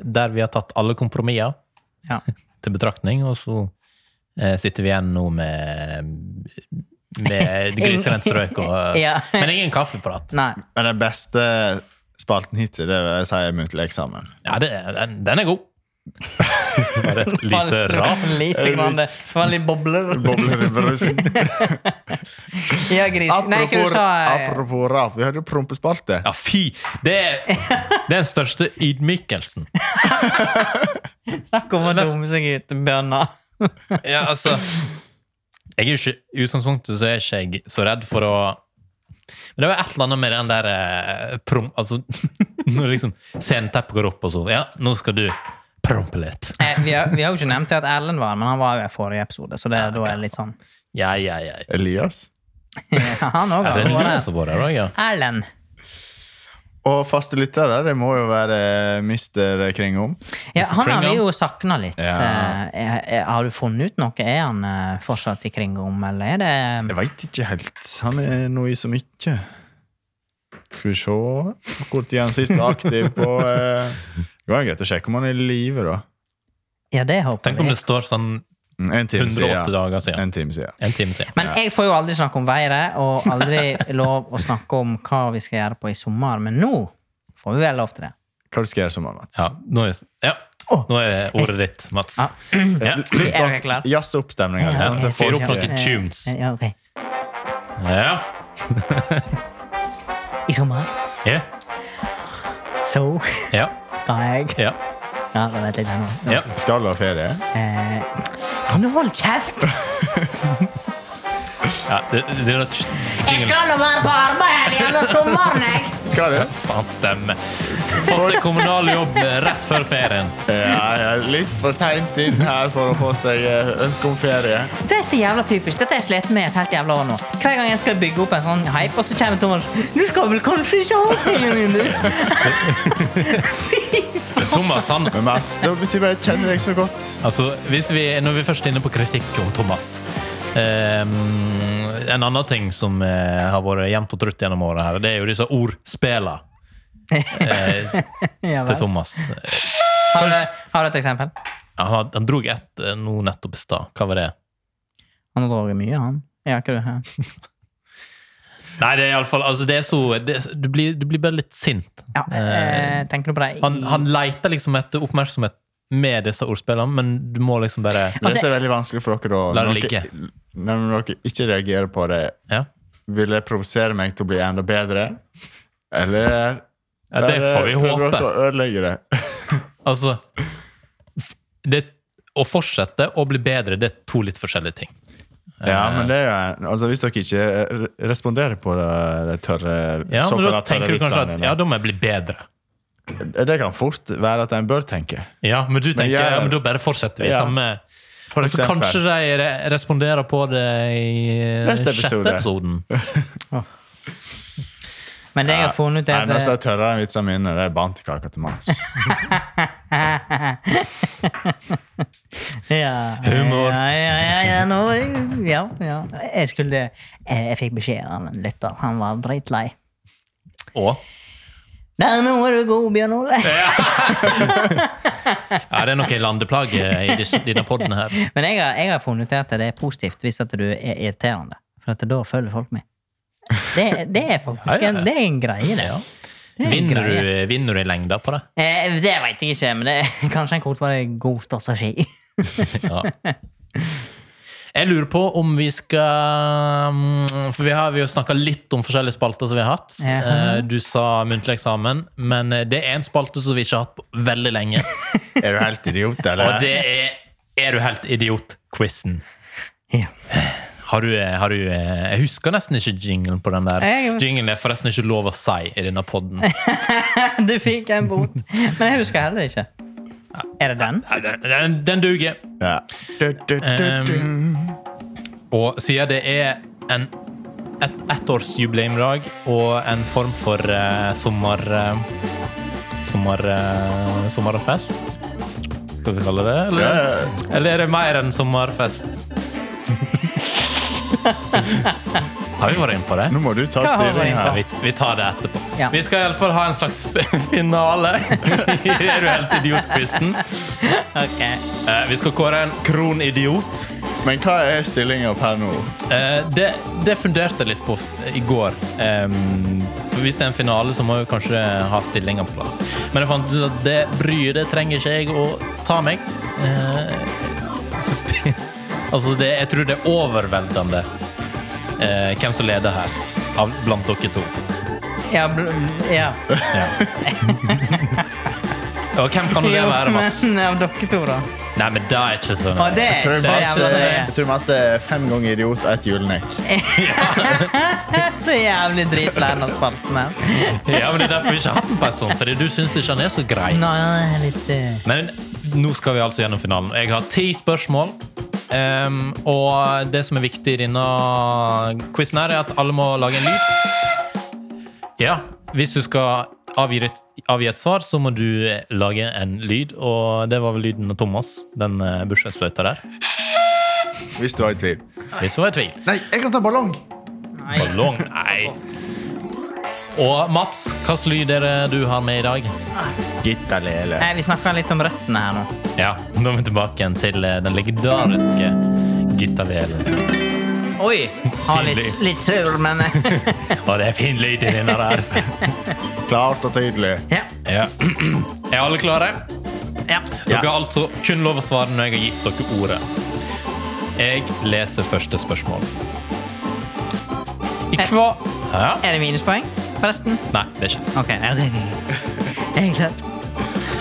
der vi har tatt alle kompromisser
Ja.
til betraktning, og så eh, sitter vi igjen nå med med grisgrendt strøk og
Ja.
Men ingen kaffeprat.
Nei.
Men den beste spalten hittil, det vil jeg si, er muntlig eksamen.
Ja, det, den, den er god. Bare et lite rap.
Lite grann. det var litt bobler.
Bobler i brusen.
Ja, gris. Nei, hva du
Apropos,
sa eh,
apropos rap, vi hadde jo prompespalte.
Ja, fy! Det er, det er den største ydmykelsen.
Snakk om å
Nest-
dumme seg ut. Bønner.
Ja, altså Jeg er jo ikke, I utgangspunktet så er ikke jeg så redd for å Men det var et eller annet med den der eh, prom... Altså, når liksom sceneteppet går opp, og så Ja, nå skal du prompe litt.
Eh, vi, har, vi har jo ikke nevnt at Erlend var her, men han var jo her i forrige episode, så det, da er det litt sånn
Ja, ja, ja.
Elias.
Han òg
Er
har
det
vært
noen
her.
som var der òg, ja?
Erlend.
Og faste lyttere, det må jo være mister Kringom.
Ja,
Mr.
han har vi
Kringle.
jo sakna litt.
Ja.
Eh, er- er- Har du funnet ut noe? Er han eh, fortsatt i Kringom, eller er det
Jeg veit ikke helt. Han er noe som ikke Skal vi se hvor tid han sist var aktiv på eh, Det var jo greit å sjekke om han er i live, da.
Ja, det håper
Tenk om
vi.
det står sånn
Mm, En time
180
siden.
dager siden.
En time siden.
En time siden.
Men jeg får jo aldri snakke om været, og aldri lov å snakke om hva vi skal gjøre på i sommer, men nå får vi vel lov til det.
Hva du skal gjøre i sommer, Mats?
Ja, nå er, ja.
Å.
Nå er ordet ditt, Mats.
Ja.
Ja.
Er dere klare?
Jazzoppstemninga.
Ja,
Ja.
fyr opp noen
Eh,
tunes.
Ja, ok.
Ja.
I sommer
Ja.
så
Ja.
skal jeg
ja.
Ja, vent litt her nå. Nå
ja.
Skal du ha ferie?
Eh, Kan du holde kjeft?
ja. Det, det er noe jingle.
nå være på arbeid hele sommeren, jeg.
Skal du?
Faen stemme. Fått seg kommunal jobb rett før ferien.
Ja, ja, litt for seint inn her for å få seg eh, ønske om ferie.
Det er så jævla typisk. Dette har jeg slitt med et helt jævla år nå. Hver gang jeg skal bygge opp en sånn hype, og så kommer Thomas Du skal vel kanskje ikke ha ferien din, du?
Men Thomas, han
Men Mats, det betyr bare jeg kjenner deg så godt.
Altså, hvis vi, når vi først er inne på kritikk om Thomas ehm, En annen ting som eh, har vært jevnt og trutt gjennom året her, det er jo disse ordspela eh,
Ja
til
vel.
Thomas. Eh,
Har du, har du et eksempel?
Han, had- han drog ett eh, nå nettopp i stad. Hva var det?
Han har drukket mye, han. Ja, ikke du? Ja.
Nei, det er iallfall altså, Det er så det, du, blir, du blir bare litt sint.
Ja, eh, tenker du på det? i-
Han, han leiter liksom etter oppmerksomhet med disse ordspillene, men du må liksom bare
Det
Altså-
er så veldig vanskelig for dere å
La det
når dere- Men når dere ikke reagerer på det,
Ja,
vil det provosere meg til å bli enda bedre? Eller
ja det får vi
eller prøver
håpe.
dere å ødelegge det?
Altså f- det, Å fortsette å bli bedre, det er to litt forskjellige ting.
Ja, men det er jo en- altså, Hvis dere ikke eh, responderer på det, det tørre
Ja, men da
såkalt
tenker du kanskje at
dine,
ja, da må jeg bli bedre.
Det kan fort være at en bør tenke.
Ja, men du tenker
jeg-
ja, men da bare fortsetter vi
Ja.
samme
For
Og så
eksempel.
altså, kanskje de re- responderer på det i eh,
Neste
sjette
episode.
episoden.
Men det jeg har funnet ut,
Nei,
er
men altså,
at
tørre enn vitsene mine, det er bantekaka til Mats.
ja,
Humor.
Ja, ja, ja, ja, nå, ja, ja. Jeg skulle Jeg, jeg fikk beskjed av en lytter. Han var dritlei.
Og
Der, nå er du god, Bjørn Ole.
ja, det er noe landeplage i disse- denne podden her.
Men jeg har, jeg har funnet ut at det er positivt hvis at du er irriterende. For at da følger folk med. Det, det er faktisk
Ja, ja, ja.
En, det er en greie, det.
Ja.
Det er en
Vinner,
greie.
du, vinner du i lengda på det?
Eh, det veit jeg ikke, men det er kanskje en kortvarig god strategi.
Ja. Jeg lurer på om vi skal mm, For vi har vi har jo snakka litt om forskjellige spalter som vi har hatt.
Jaha.
Eh, Du sa muntlig eksamen, men eh, det er en spalte som vi ikke har hatt på veldig lenge.
Er du helt idiot, eller?
Og det er Er du helt idiot-quizen.
Ja.
Har du, eh, har du eh, Jeg husker nesten ikke jinglen på den der.
Jeg-
Jinglen er forresten ikke lov å si i denne poden.
Du fikk en bot. Men jeg husker heller ikke. Er det den?
Den, den duger.
Ja. Du, du, du, du.
Og siden det er en, et ettårsjubileumdag og en form for eh, sommer... eh, sommer eh, sommerfest? Skal vi kalle det eller?
Ja.
eller er det mer enn sommerfest? Har vi vært inne på det?
Nå må du ta
Hva har vi
styring
Ja,
her.
vi, vi tar det etterpå.
Ja.
Vi skal iallfall ha en slags finale i Er du helt idiot-quizen.
Ok.
Eh, vi skal kåre en kronidiot.
Men hva er stillinga per nå?
Eh, det, det funderte jeg litt på f- i går. Em, for hvis det er en finale, så må jeg kanskje ha stillinga på plass. Men jeg fant ut at det bryet det trenger ikke jeg å ta meg. Eh, for sti- altså, det, jeg tror det er overveldende eh, hvem som leder her, av, blant dere to.
Ja, bl- ja.
Ja. Og hvem kan det
Jo,
være, Mats?
men av dere to, da.
Nei, men det er ikke sånn.
Og det er
Tror
ikke
du
så
Mats,
jævla
er-
nøye.
jeg tror Mats er fem ganger idiot og ett julenek.
Så jævlig dritlærende å spalte med.
Ja, men det er derfor vi ikke har hatt en person, fordi du syns ikke han er så grei.
Nå er jeg litt eh,
Men nå skal vi altså gjennom finalen. Jeg har ti spørsmål. Ehm, og det som er viktig i denne quizen, her er at alle må lage en lyd. Ja, hvis du skal avgi et, avgi et svar, så må du eh, lage en lyd. Og det var vel lyden av Thomas, den eh, bursdagsfløyta der.
Hvis du var i tvil.
Hvis du var i tvil.
Nei, jeg kan ta ballong!
Nei.
Ballong? Nei. Og Mats, hvilken lyd er det du har med i dag?
Gittalele.
Nei, vi snakker litt om røttene her nå.
Ja, Nå er vi tilbake igjen til eh, den legendariske gitarvelen.
Oi! Har litt,
Tydelig.
litt surr, men eh,
Og det er fin lyd i denne der.
Klart og tydelig.
ja.
Ja. Er alle klare?
ja.
Dere
Ja.
har altså kun lov å svare når jeg har gitt dere ordet. Jeg leser første spørsmål. I
Eh.
hva ja.
Er det minuspoeng, forresten?
Nei, det er ikke.
Ok. ja, det er greit. Jeg er klart.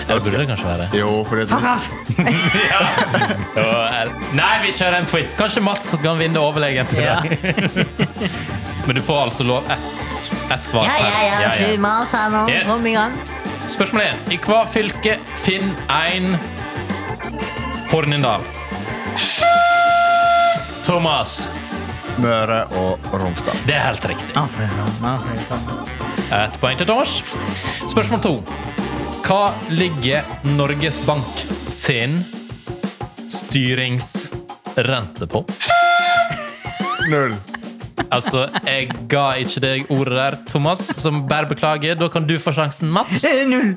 Eller burde det kanskje være?
Jo, for det
Fuck off!
Ja, er- Nei, vi kjører en twist. Kanskje Mats kan vinne overlegent i
Ja.
dag. Men du får altså lov ett ett svar
Ja, ja, ja.
Ja, ja.
Fy mas her nå.
Yes.
Kom i gang.
Spørsmål 1. I hva fylke finn ein Hornindal? Thomas.
Møre og Romsdal.
Det er helt riktig.
Å, fy faen, å, fy faen.
Et poeng til Thomas. Spørsmål 2. Hva ligger Norges Bank sin styringsrente på?
Null.
Altså, jeg ga ikke deg ordet der, Thomas, som bare beklager. Da kan du få sjansen, Mats.
Eh, Null.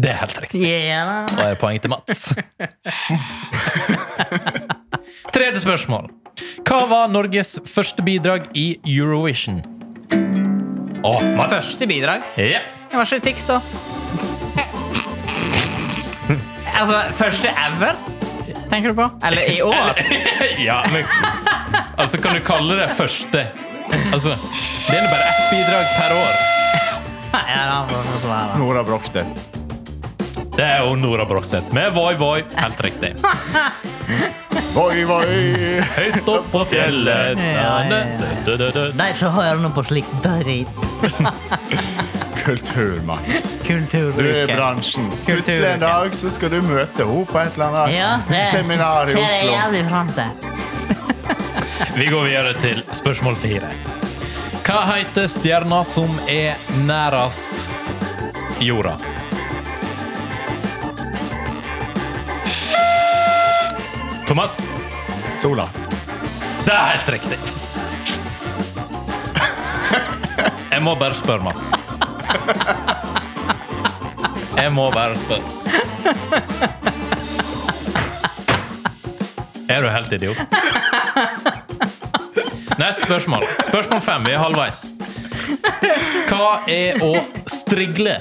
Det er helt riktig.
Ja da.
Da er det poeng til Mats. Tredje spørsmål. Hva var Norges første bidrag i Eurovision? Å, Mats.
Første bidrag.
Ja.
Det var ikke Tix, da. Altså, første ever? Tenker du på? Eller i år?
ja, men Altså, kan du kalle det første? Altså, det er jo bare ett bidrag per år.
Nei, ja, da får vi svare.
Nora Brokstedt.
Det er jo Nora Brogstvedt med Voi Voi. Helt riktig.
Voi, voi!
Høyt opp på fjellet
Ja, ja, De som hører nå på slik dritt.
Kultur, Mats. Du er i
Kulturbruker.
bransjen. Plutselig en dag så skal du møte henne på et eller annet
Ja, det
seminar i
ser jeg
Oslo.
jævlig fram til.
Vi går videre til spørsmål fire. Hva heter stjerna som er nærest jorda? Thomas,
Sola.
det er helt riktig. Jeg må bare spørre, Mats. Jeg må bare spørre. Er du helt idiot? Neste spørsmål. Spørsmål fem. Vi er halvveis. Hva er å strigle?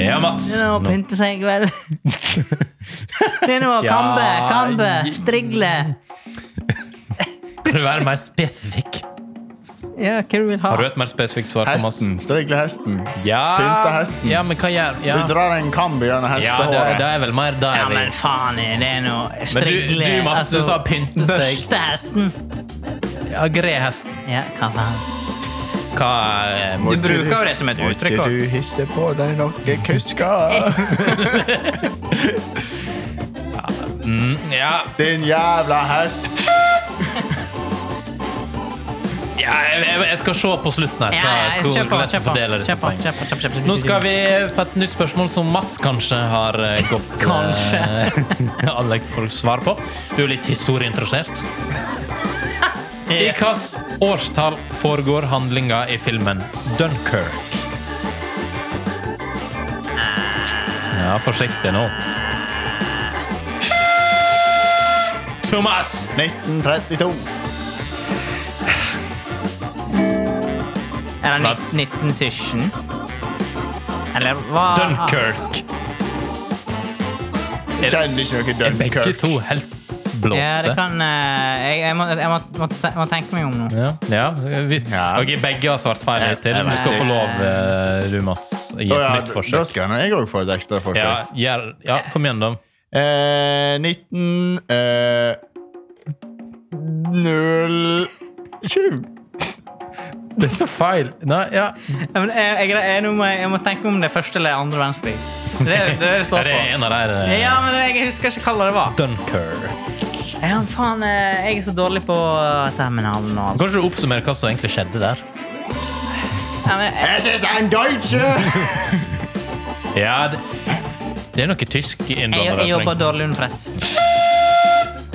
Ja, Mats.
Det er nå å
Nå-
pynte seg i kveld. Det er nå
Ja,
kambe, kambe, strigle.
Kan du være mer spesifikk?
Ja, hva du vil ha.
Har du et mer spesifikt svar, Thomas?
Hesten. Strigle hesten.
Ja,
Pynte hesten.
Ja, men hva gjør ja.
Du drar en kamb gjennom
ja, det, det
hestehåret.
er vel mer der
Ja,
vi
men faen, det er nå
Men
strigle.
du, du Mats, du
altså,
sa pynte seg.
Børste hesten.
Ja, gre hesten.
Ja, hva faen.
Hva eh,
Må
Du
ikke
bruker jo det som et
må
uttrykk,
ikke
også.
du hisse på deg noen kusker?
mm, ja,
Din jævla hest.
ja, jeg, jeg- jeg skal se på slutten
Ja,
her.
ja,
hva-
kjør på,
hvordan jeg
kjør på.
fordeler disse
Kjør på,
poengene.
kjør på, kjør på, kjør på.
Nå skal vi på et nytt spørsmål som Mats kanskje har eh, gått eh,
Kanskje.
Alle folk svar på. Du er litt historieinteressert. I hvilket årstall foregår handlinga i filmen Dunkerque? Ja, forsiktig nå. Thomas!
1932.
Er det
Plats.
1917? Eller hva
Dunkerque.
Jeg kjenner ikke noe
Er begge
Dunkirk.
to helt blåste?
Ja, det kan eh, Jeg, jeg, må, jeg må, må, te- må tenke meg om nå.
Ja. ja. Vi,
Ja.
Ok, begge har svart feil
Jeg-
hittil.
jeg
Du
vet
skal
ikke.
få lov, eh, du, Mats. å Gi
Å
et
ja,
nytt
da
forsøk.
skal nå jeg òg få et ekstra forsøk.
Ja, gjør, ja, kom igjen, da.
Eh, 19... Eh, 07.
Det er så feil! Nei, ja.
Ja, men Jeg, jeg, jeg, nå må jeg, jeg må tenke meg om det er første eller andre verdenskrig. Det er det er det det
Er
står
det
på.
en av de eh,
Ja, men jeg husker ikke hva det var.
Dunker.
Ja, men faen, eh, jeg er så dårlig på eh, terminalen og alt.
Kan ikke du oppsummere hva som egentlig skjedde der?
Ja, men, jeg,
Es ist ein Deutsche!
Ja, det, det er noe tysk
jeg, jeg jobber
innblandet.
dårlig under press.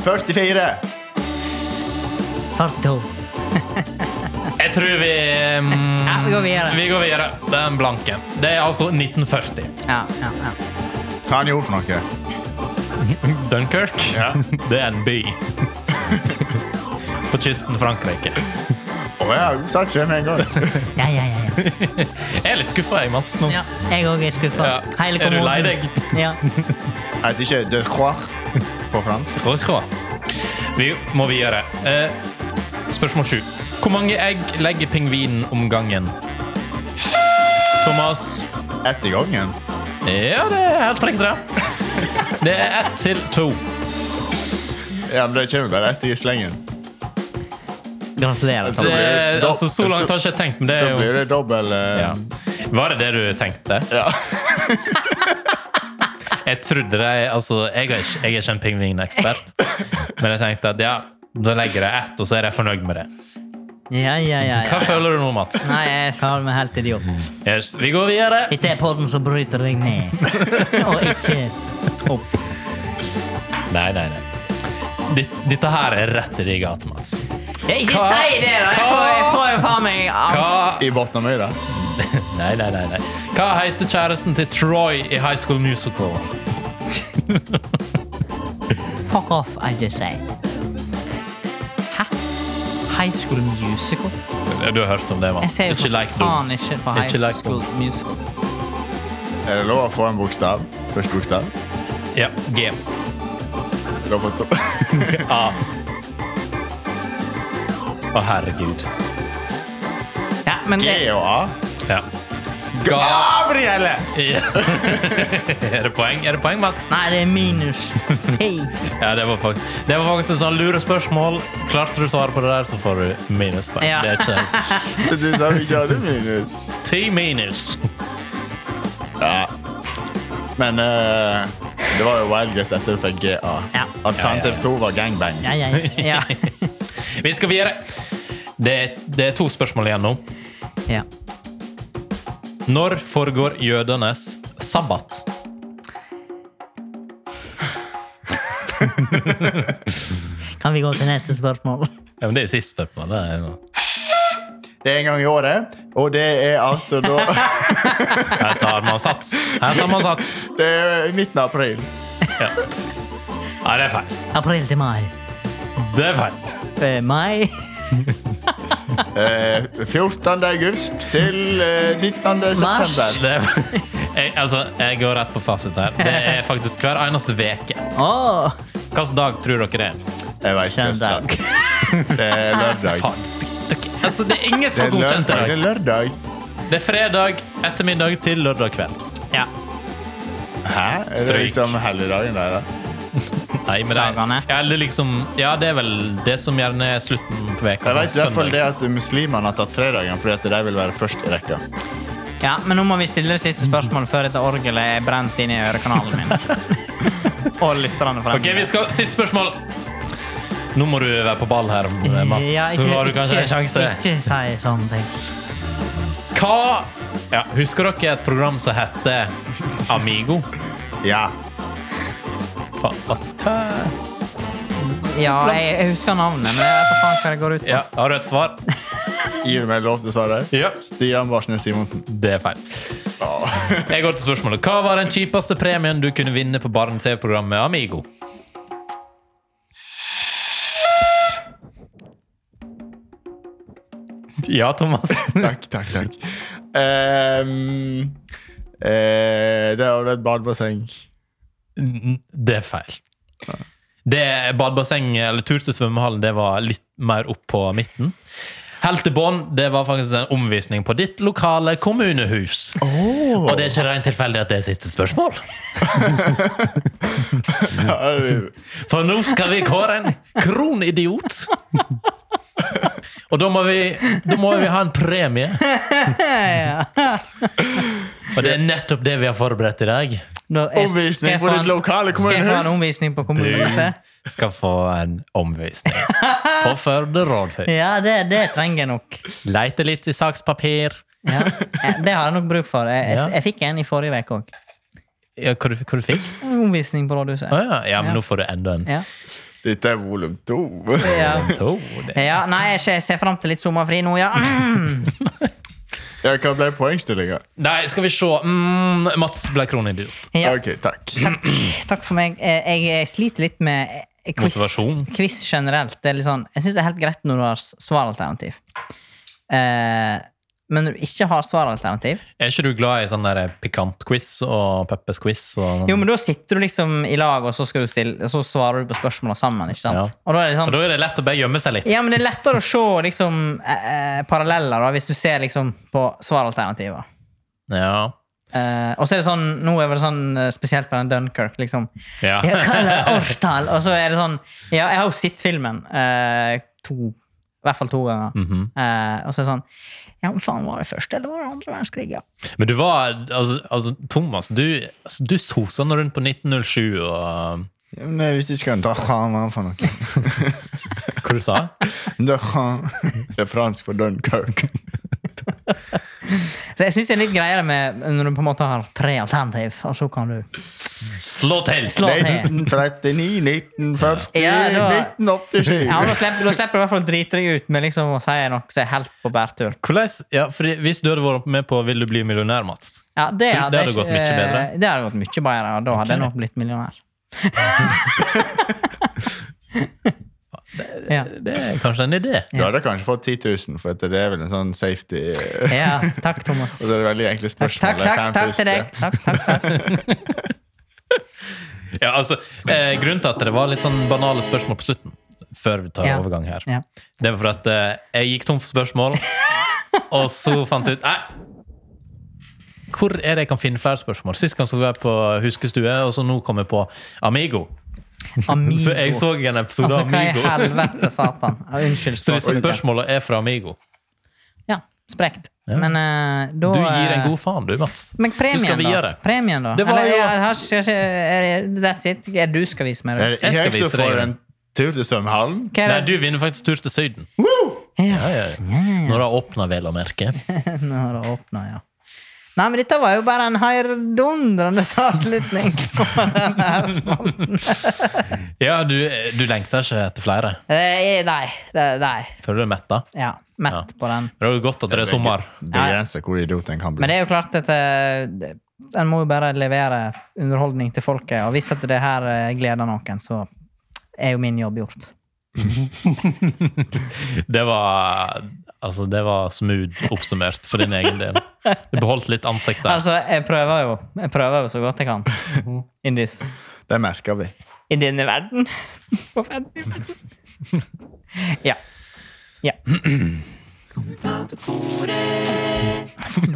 44.
42.
Jeg tror vi mm,
Ja, vi går videre.
Vi går videre. Det er en blanke. Det er altså 1940.
Ja, ja, ja.
Hva han gjorde for noe?
Dunkerque, det er en by. På kysten Frankrike.
Å ja, hun sa ikke det med en gang.
Ja, ja, ja, ja.
Jeg er litt skuffa, jeg, Mats. Nå.
ja jeg òg er skuffa.
Ja.
Hele
Er du lei
kommoden.
deg?
Ja.
Jeg heter ikke De Croix på fransk.
Hva skal Vi må videre. Eh, spørsmål sju. Hvor mange egg legger pingvinen om gangen? Thomas?
Etter gangen.
Ja, det er helt riktig, det. Det er ett til to.
Ja, men Det kommer bare etter i slengen.
Gratulerer.
Det,
Tom.
er- altså, så langt har jeg ikke tenkt, men det
Så
er jo
blir det dobbel eh,
ja. Var det det du tenkte?
ja.
Jeg trodde det Altså, jeg er ikke, jeg er ikke en pingvinekspert, men jeg tenkte at ja, da legger jeg ett, og så er jeg fornøyd med det.
Ja, ja, ja.
Hva
ja.
føler du nå, Mats?
Nei, jeg føler meg helt idiot.
Yes, vi går videre.
Dette er podden som bryter deg ned, og ikke opp.
Nei, nei, nei. Ditt- Dette her er rett i din gate, Mats.
Ja, ikke
Hva?
si det, da! Jeg får, jeg får jo faen meg angst.
Hva
I Botnamøyra.
Nei, nei, nei. nei. Hva heter kjæresten til Troy i High School Musical?
Fuck off, I just say. Hæ? High School Musical?
Du har hørt om det,
Jeg
Mats.
ser jo
Ikke
for
like
faen
dum.
ikke på
Ikke
High
like
School Musical.
Er det lov å få en bokstav? Første bokstav?
Ja, G.
Da på topp.
A. Å, herregud.
Ja, men
G
det,
og A.
Ja. Ga...
Gabrielle!
Ja. er det poeng? Er det poeng, Mats?
nei, det er minus. Fy.
Ja, det var faktisk, det var faktisk et sånn lurespørsmål. Klarte du svaret på det der, så får du minuspoeng.
Ja.
Det er ikke
Du sa vi ikke hadde minus.
ti minus.
Ja. Men eh, det var jo Wildguess etter du fikk GA.
Ja.
Alternativ
Ja, ja, ja.
to var gangbang.
Ja, ja, ja.
Vi skal videre. Det, det er to spørsmål igjen nå.
ja.
Når foregår jødenes sabbat?
Kan vi gå til neste spørsmål?
Ja, men det er sist spørsmål. Det er,
Det er en gang i året, og det er altså da
her tar man sats. Her tar man sats.
Det er i midten av april.
Ja. Nei, det er feil.
April til mai.
Det er feil.
Eh, mai?
Eh, 14. august til eh, 19.
Mars.
september.
Det er jeg, altså, jeg går rett på fasit her. Det er faktisk hver eneste veke.
Åh!
Hvilken dag tror dere det er?
Jeg vet ikke.
Søndag.
Østland. Det er lørdag.
Faen, dere, altså, det er ingen som
Det
har
er
godkjent i
lørdag. Det
dag.
er lørdag.
Det er fredag ettermiddag til lørdag kveld.
Ja.
Hæ? Er det
Stryk.
liksom helligdagen der, da?
Nei, men det,
Dagene.
ja, eller liksom, ja, det er vel det som gjerne er slutten på veka.
Jeg vet i
sånn
hvert fall det
søndag.
at muslimene har tatt fredagen fordi at de vil være først i rekka.
ja, men nå må vi stille det siste spørsmål før dette orgelet er brent inn i ørekanalen min. og lytterne fremme.
Ok, vi skal, Siste spørsmål. Nå må du være på ball her, eh, Mats.
Ja,
så har du kanskje en sjanse.
Ikke si sånne ting.
Hva ja, Husker dere et program som heter Amigo?
Ja.
Fa- Mats, hva
Ja, jeg, jeg husker navnet, men jeg vet da faen hva det går ut på.
Ja, har du et svar?
Gir du meg lov til å svare?
Ja.
Stian Barsnes Simonsen.
Det er feil.
Ja.
Jeg går til spørsmålet. Hva var den kjipeste premien du kunne vinne på barne-TV-programmet Amigo? Ja, Thomas.
takk, takk, takk. Ehm, eh, det er vel et badebasseng.
Det er feil. Det Badebasseng eller tur til svømmehallen det var litt mer opp på midten. Helt til bånn det var faktisk en omvisning på ditt lokale kommunehus. Og det er ikke rent tilfeldig at det er siste spørsmål.
Ja, det-
For nå skal vi kåre en kronidiot. Og da må, vi, da må vi ha en premie. Og det er nettopp det vi har forberedt i dag.
Da er-
Omvisning
skal jeg
på
få en-
ditt lokale
Skal jeg få
kommunehus?
en omvisning på kommunehuset?
Du skal få en omvisning på Førde rådhus.
Ja, det, det trenger jeg nok.
Leite litt i sakspapir.
Ja. Eh, Det har jeg nok bruk for. Jeg,
Ja.
jeg, jeg fikk en i forrige uke òg.
Ja, hva, du, hva du fikk du?
Omvisning på rådhuset.
ja. ja, men nå får du enda en.
Ja.
Dette er volum to.
Ja.
En to. Det-
Ja, nei, jeg ser- jeg ser fram til litt sommerfri nå, ja. Mm.
Ja, hva ble poengstillinga?
Nei, skal vi se. Mm, Mats ble kronidiot.
ja.
Ok, takk.
Takk for meg. Eh, Jeg, jeg sliter litt med eh, quiz,
Motivasjon.
quiz generelt. Det er litt sånn, jeg syns det er helt greit når du har s- svaralternativ. Eh, men når du ikke har svaralternativ
Er ikke du glad i sånn der pikant-quiz og Peppers-quiz? og- sånn?
Jo, men da sitter du liksom i lag, og så, skal du stille, så svarer du på spørsmåla sammen. ikke sant?
Ja.
Og da er det
Og
sånn,
da er det lett å bare gjemme seg litt.
Ja, men det er lettere å se liksom, eh, eh, paralleller da, hvis du ser liksom, på svaralternativer.
Ja.
Eh, og så er det sånn, nå er det sånn eh, spesielt på den Dunkirk, liksom.
Ja.
Ja, hva er årstall? Og så er det sånn, ja, jeg har jo sett filmen eh, to, i hvert fall to ganger.
Mhm.
Eh, og så er det sånn, ja, men faen, var det første eller var det andre verdenskrig, ja?
Men du var altså, altså, Thomas, du, altså, du sosa nå rundt på 1907 og
Ja, men jeg visste ikke hva en dahan var for noe.
eh, Hva du sa
Dahan. Det er fransk for Dunkirk.
Så jeg synes det er litt greiere med når du på en måte har tre alternativ, og så kan du...
Slå til!
Slå til.
1939, 1940,
Ja, det var-
1987.
Ja, da slipper, da slipper du i hvert fall å drite deg ut med liksom å si noe som er helt på bærtur.
Hvordan, ja, fordi hvis du hadde vært med på Vil du bli millionær, Mats
Ja, det,
Så det hadde
ikke-
gått mye bedre?
eh, Det hadde gått mye bedre, og da hadde jeg
Ok.
nok blitt millionær. ja.
Det er kanskje en idé.
Du hadde kanskje fått 10 000, for at det er vel en sånn safety eh,
ja, takk, Thomas.
Og så er det Eh, veldig enkle
Takk,
spørsmål.
takk,
Jeg
takk,
kan
takk til
puste.
deg. Takk, takk, takk.
Ja, altså, eh, grunnen til at det var litt sånn banale spørsmål på slutten, før vi tar
Ja.
overgang her,
Ja.
det var for at eh, jeg gikk tom for spørsmål, og så fant jeg ut Nei! Hvor er det jeg kan finne flere spørsmål? Sist gang så var jeg på Huskestue, og så nå kom jeg på Amigo.
Amigo.
Så jeg så en episode
altså,
av
hva i
Amigo.
helvete, satan? Ja, Unnskyld.
Så disse
språkbruken.
spørsmålene er fra Amigo.
Ja, sprekt.
Ja.
Men eh, da
Du gir en
eh,
god faen, du, Mats.
Men premien,
Du skal
da?
videre.
Premien, da?
Det var
Eller,
jo-
jeg har ikke- jeg har ikke- er det- That's it. Er du skal vise meg
Er
det?
det
Jeg skal
jeg som
vise deg
får
det.
en tur til svømmehallen?
Hva
Nei,
er det?
du vinner faktisk tur til Syden. Ja,
Ja.
ja, ja. Når det åpner, vel å merke.
Nå har det åpnet, ja. Nei, men dette var jo bare en heidundrende avslutning på denne her spalten.
Ja, du, eh, du lengter ikke etter flere.
Eh, Nei. det- Nei.
Føler du deg metta?
Ja. Mett på den.
Det er jo godt at det er sommer.
Begrenser hvor idiot en kan bli.
Men det er jo klart at eh, det- en må jo bare levere underholdning til folket. Og hvis at det her eh, gleder noen, så er jo min jobb gjort.
Det var, altså, det var smooth oppsummert for din egen del. Du beholdt litt ansikt der.
Altså, jeg prøver jo. Jeg prøver jo så godt jeg kan. In this
Det merker vi.
I denne verden. Forferdelig verden. Ja. Ja. Faen, Du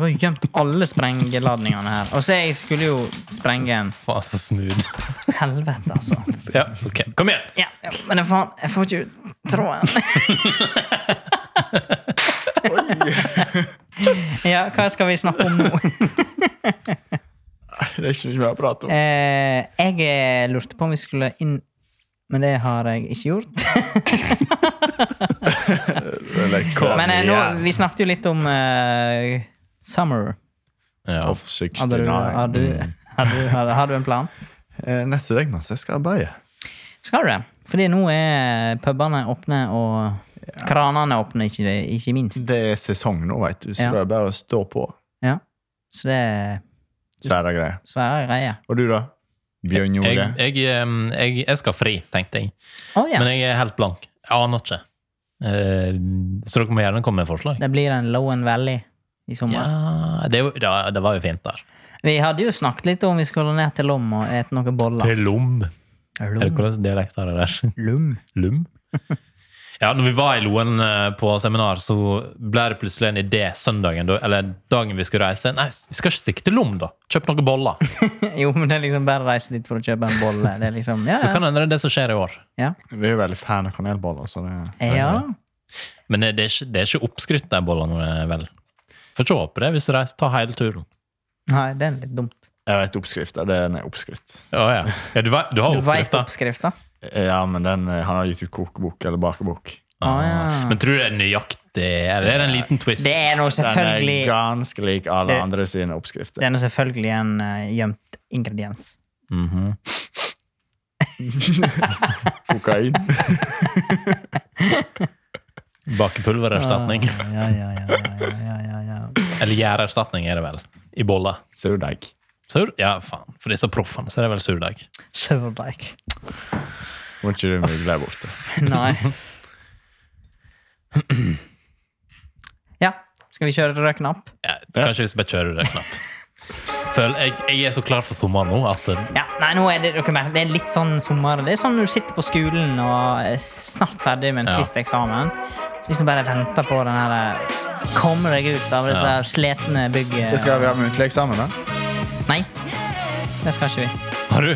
har jo gjemt alle sprengeladningene her. Og så jeg skulle jo sprenge en
Faen, så smooth.
Helvete, altså.
Ja, ok. Kom igjen!
Ja, ja, men jeg, faen, jeg får ikke ut tråden. ja, hva skal vi snakke om nå?
Det er ikke mye mer å prate om.
Eh, jeg eh, lurte på om vi skulle inn Men det har jeg ikke gjort.
Det er lekser.
Men eh, nå,
igjen.
vi snakket jo litt om eh, summer.
Ja.
Off
Hadde du,
69.
har,
Mm.
du, har, du, har, har du en plan?
Mm. Eh, Neste dag, Mats, jeg skal arbeide.
Skal du det? Fordi nå er pubene åpne, og kranene åpne, ikke, ikke minst.
Det er sesong nå, vet du, så
Ja.
det er bare å stå på.
Ja. Så det er
Svære greier.
svære greier.
Og du, da? Bjørn
Jeg,
Jore?
jeg, em, jeg, jeg skal fri, tenkte jeg.
Å ja.
Men jeg er helt blank. Jeg aner ikke. Eh, så dere må gjerne komme med forslag.
Det blir en low and valley i sommer.
Ja, det, er jo- da- det var jo fint der.
Vi hadde jo snakket litt om vi skulle ned til Lom og ete noen boller.
Til Lom. Er det hvordan dialekt er det der?
Lom.
Lum? Ja, når vi var i Loen eh, på seminar, så ble det plutselig en idé søndagen, da- eller dagen vi skulle reise. Nei, vi skal ikke stikke til Lom, da. Kjøp noen boller.
Jo, men det er liksom bare å reise dit for å kjøpe en bolle. Det er liksom, ja, ja.
Det kan hende det er det som skjer i år.
ja.
Vi er jo veldig fan av kanelboller, så det
ja.
Men det er ikke, det er ikke oppskrytt, de bollene, eh, vel. Får ikke håpe det hvis du reiser, tar hele turen.
Nei, det er litt dumt.
Jeg vet oppskrifta. Det er en oppskrift.
Ja, ja. ja du, vet- du har
Du veit
oppskrifta.
oppskrifta?
Ja, men den, eh, han har gitt ut kokebok eller bakebok.
Ah, ja.
Men tror du det er nøyaktig? Eller er det en liten twist?
Det er nå
Den er
selvfølgelig
ganske lik alle
Det-
andre sine oppskrifter.
Det er nå selvfølgelig en eh, gjemt ingrediens.
Mhm.
Kokain.
Bakepulvererstatning.
Ja, ja, ja, ja, ja, ja, ja.
Eller gjærerstatning er det vel. I boller.
Surdeig.
Sur? Ja, faen. For disse proffene så er det vel surdeig.
Surdeig.
Må ikke du mugle der borte.
Nei. Ja, skal vi kjøre til rød knapp?
Ja, kanskje vi skal bare kjøre det knapt. Føl, jeg, jeg er så klar for sommeren nå at eh,
Ja, nei, nå er det, dere merker, det er litt sånn sommer. Det er sånn når du sitter på skolen og er snart ferdig med den
Ja.
siste eksamen. Så liksom bare venter på den her Komme deg ut av dette
Ja.
sletne bygget.
Det skal vi ha muntlig eksamen, da?
Nei, det skal ikke vi.
Har du,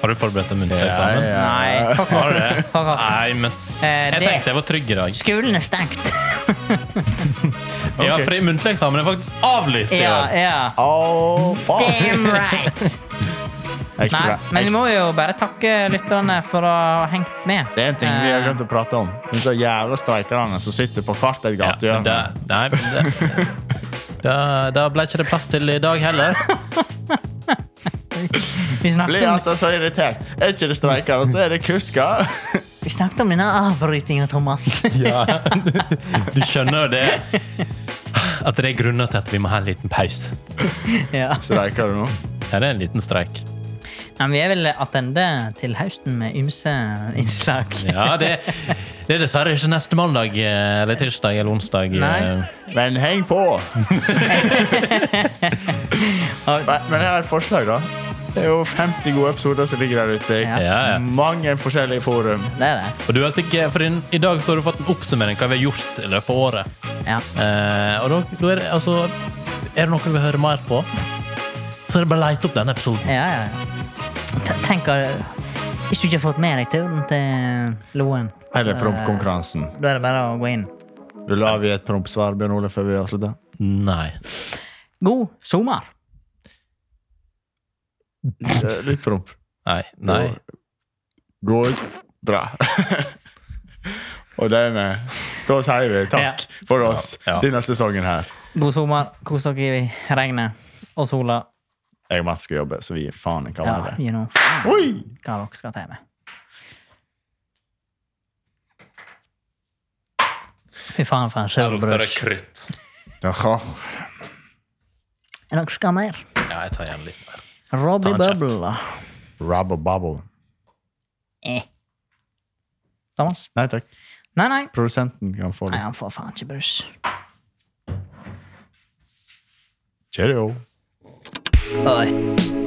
har du forberedt deg muntlig eksamen?
Ja.
Nei, fuck
Har
off.
du det?
Fuck off.
Nei, men s-
Eh,
jeg
det-
tenkte jeg var trygg i dag.
Skolen er stengt.
Ja,
Ok.
for muntlig eksamen er faktisk avlyst i
ja,
dag.
ja.
Oh,
Damn right! Nei,
Ekstra.
men vi
Ekstra.
må jo bare takke lytterne for å ha hengt med.
Det er en ting vi har
Eh,
glemt å prate om. Disse jævla streikerne som sitter på hvert et
Ja, men
gatehjørne.
det- nei, men det, da, da ble ikke det plass til i dag heller.
Vi snakket,
Blir
om,
altså så irritert. Er ikke det streikere, så er det kusker.
vi snakket om denne avbrytinga, Thomas.
Ja. Du skjønner jo det. At det er grunner til at vi må ha en liten pause.
ja.
Streiker du nå?
Ja, det er en liten streik.
Men vi er vel attende til høsten med ymse innslag.
Ja, det, det er dessverre ikke neste mandag eh, eller tirsdag eller onsdag. eh.
Nei.
Men heng på! Nei, Men jeg har et forslag, da. Det er jo 50 gode episoder som ligger der ute.
Ja.
Ja, ja.
Mange forskjellige forum.
Det er det.
Og du har sikkert, for i- I dag så har du fått en oppsummering hva vi har gjort i løpet av året.
Ja.
Eh, og da, da er, det, altså, er det noe du vil høre mer på, så er det bare å lete opp denne episoden.
Ja, ja, ja. T- Tenk eh, Hvis du ikke har fått med deg turen til Loen, eh,
Eller prompkonkurransen.
da er det bare å gå inn.
Du la vi et prompsvar, Bjørn Ole, før vi avslutter?
Nei.
God sommer!
Eh, Litt promp.
Nei. nei.
Gå ut. Bra. Og dermed Da sier vi takk for oss
Ja.
denne sesongen her.
God sommer, kos dere i regnet og sola.
Jeg og Mats skal jobbe, så vi gir faen i hva
Ja,
det er.
you know
Oi!
hva dere skal til med. Fy faen, for en sjølbrus.
krutt.
Jaha.
Er dere skal ha mer?
Ja, jeg tar igjen litt mer.
Robbie
Ta en kjapt.
Bubble.
Rubber bubble.
Eh. Thomas?
Nei takk.
Nei, nei.
Produsenten kan få
Nei,
det.
han får faen ikke brus.
Cheerio.
Oi.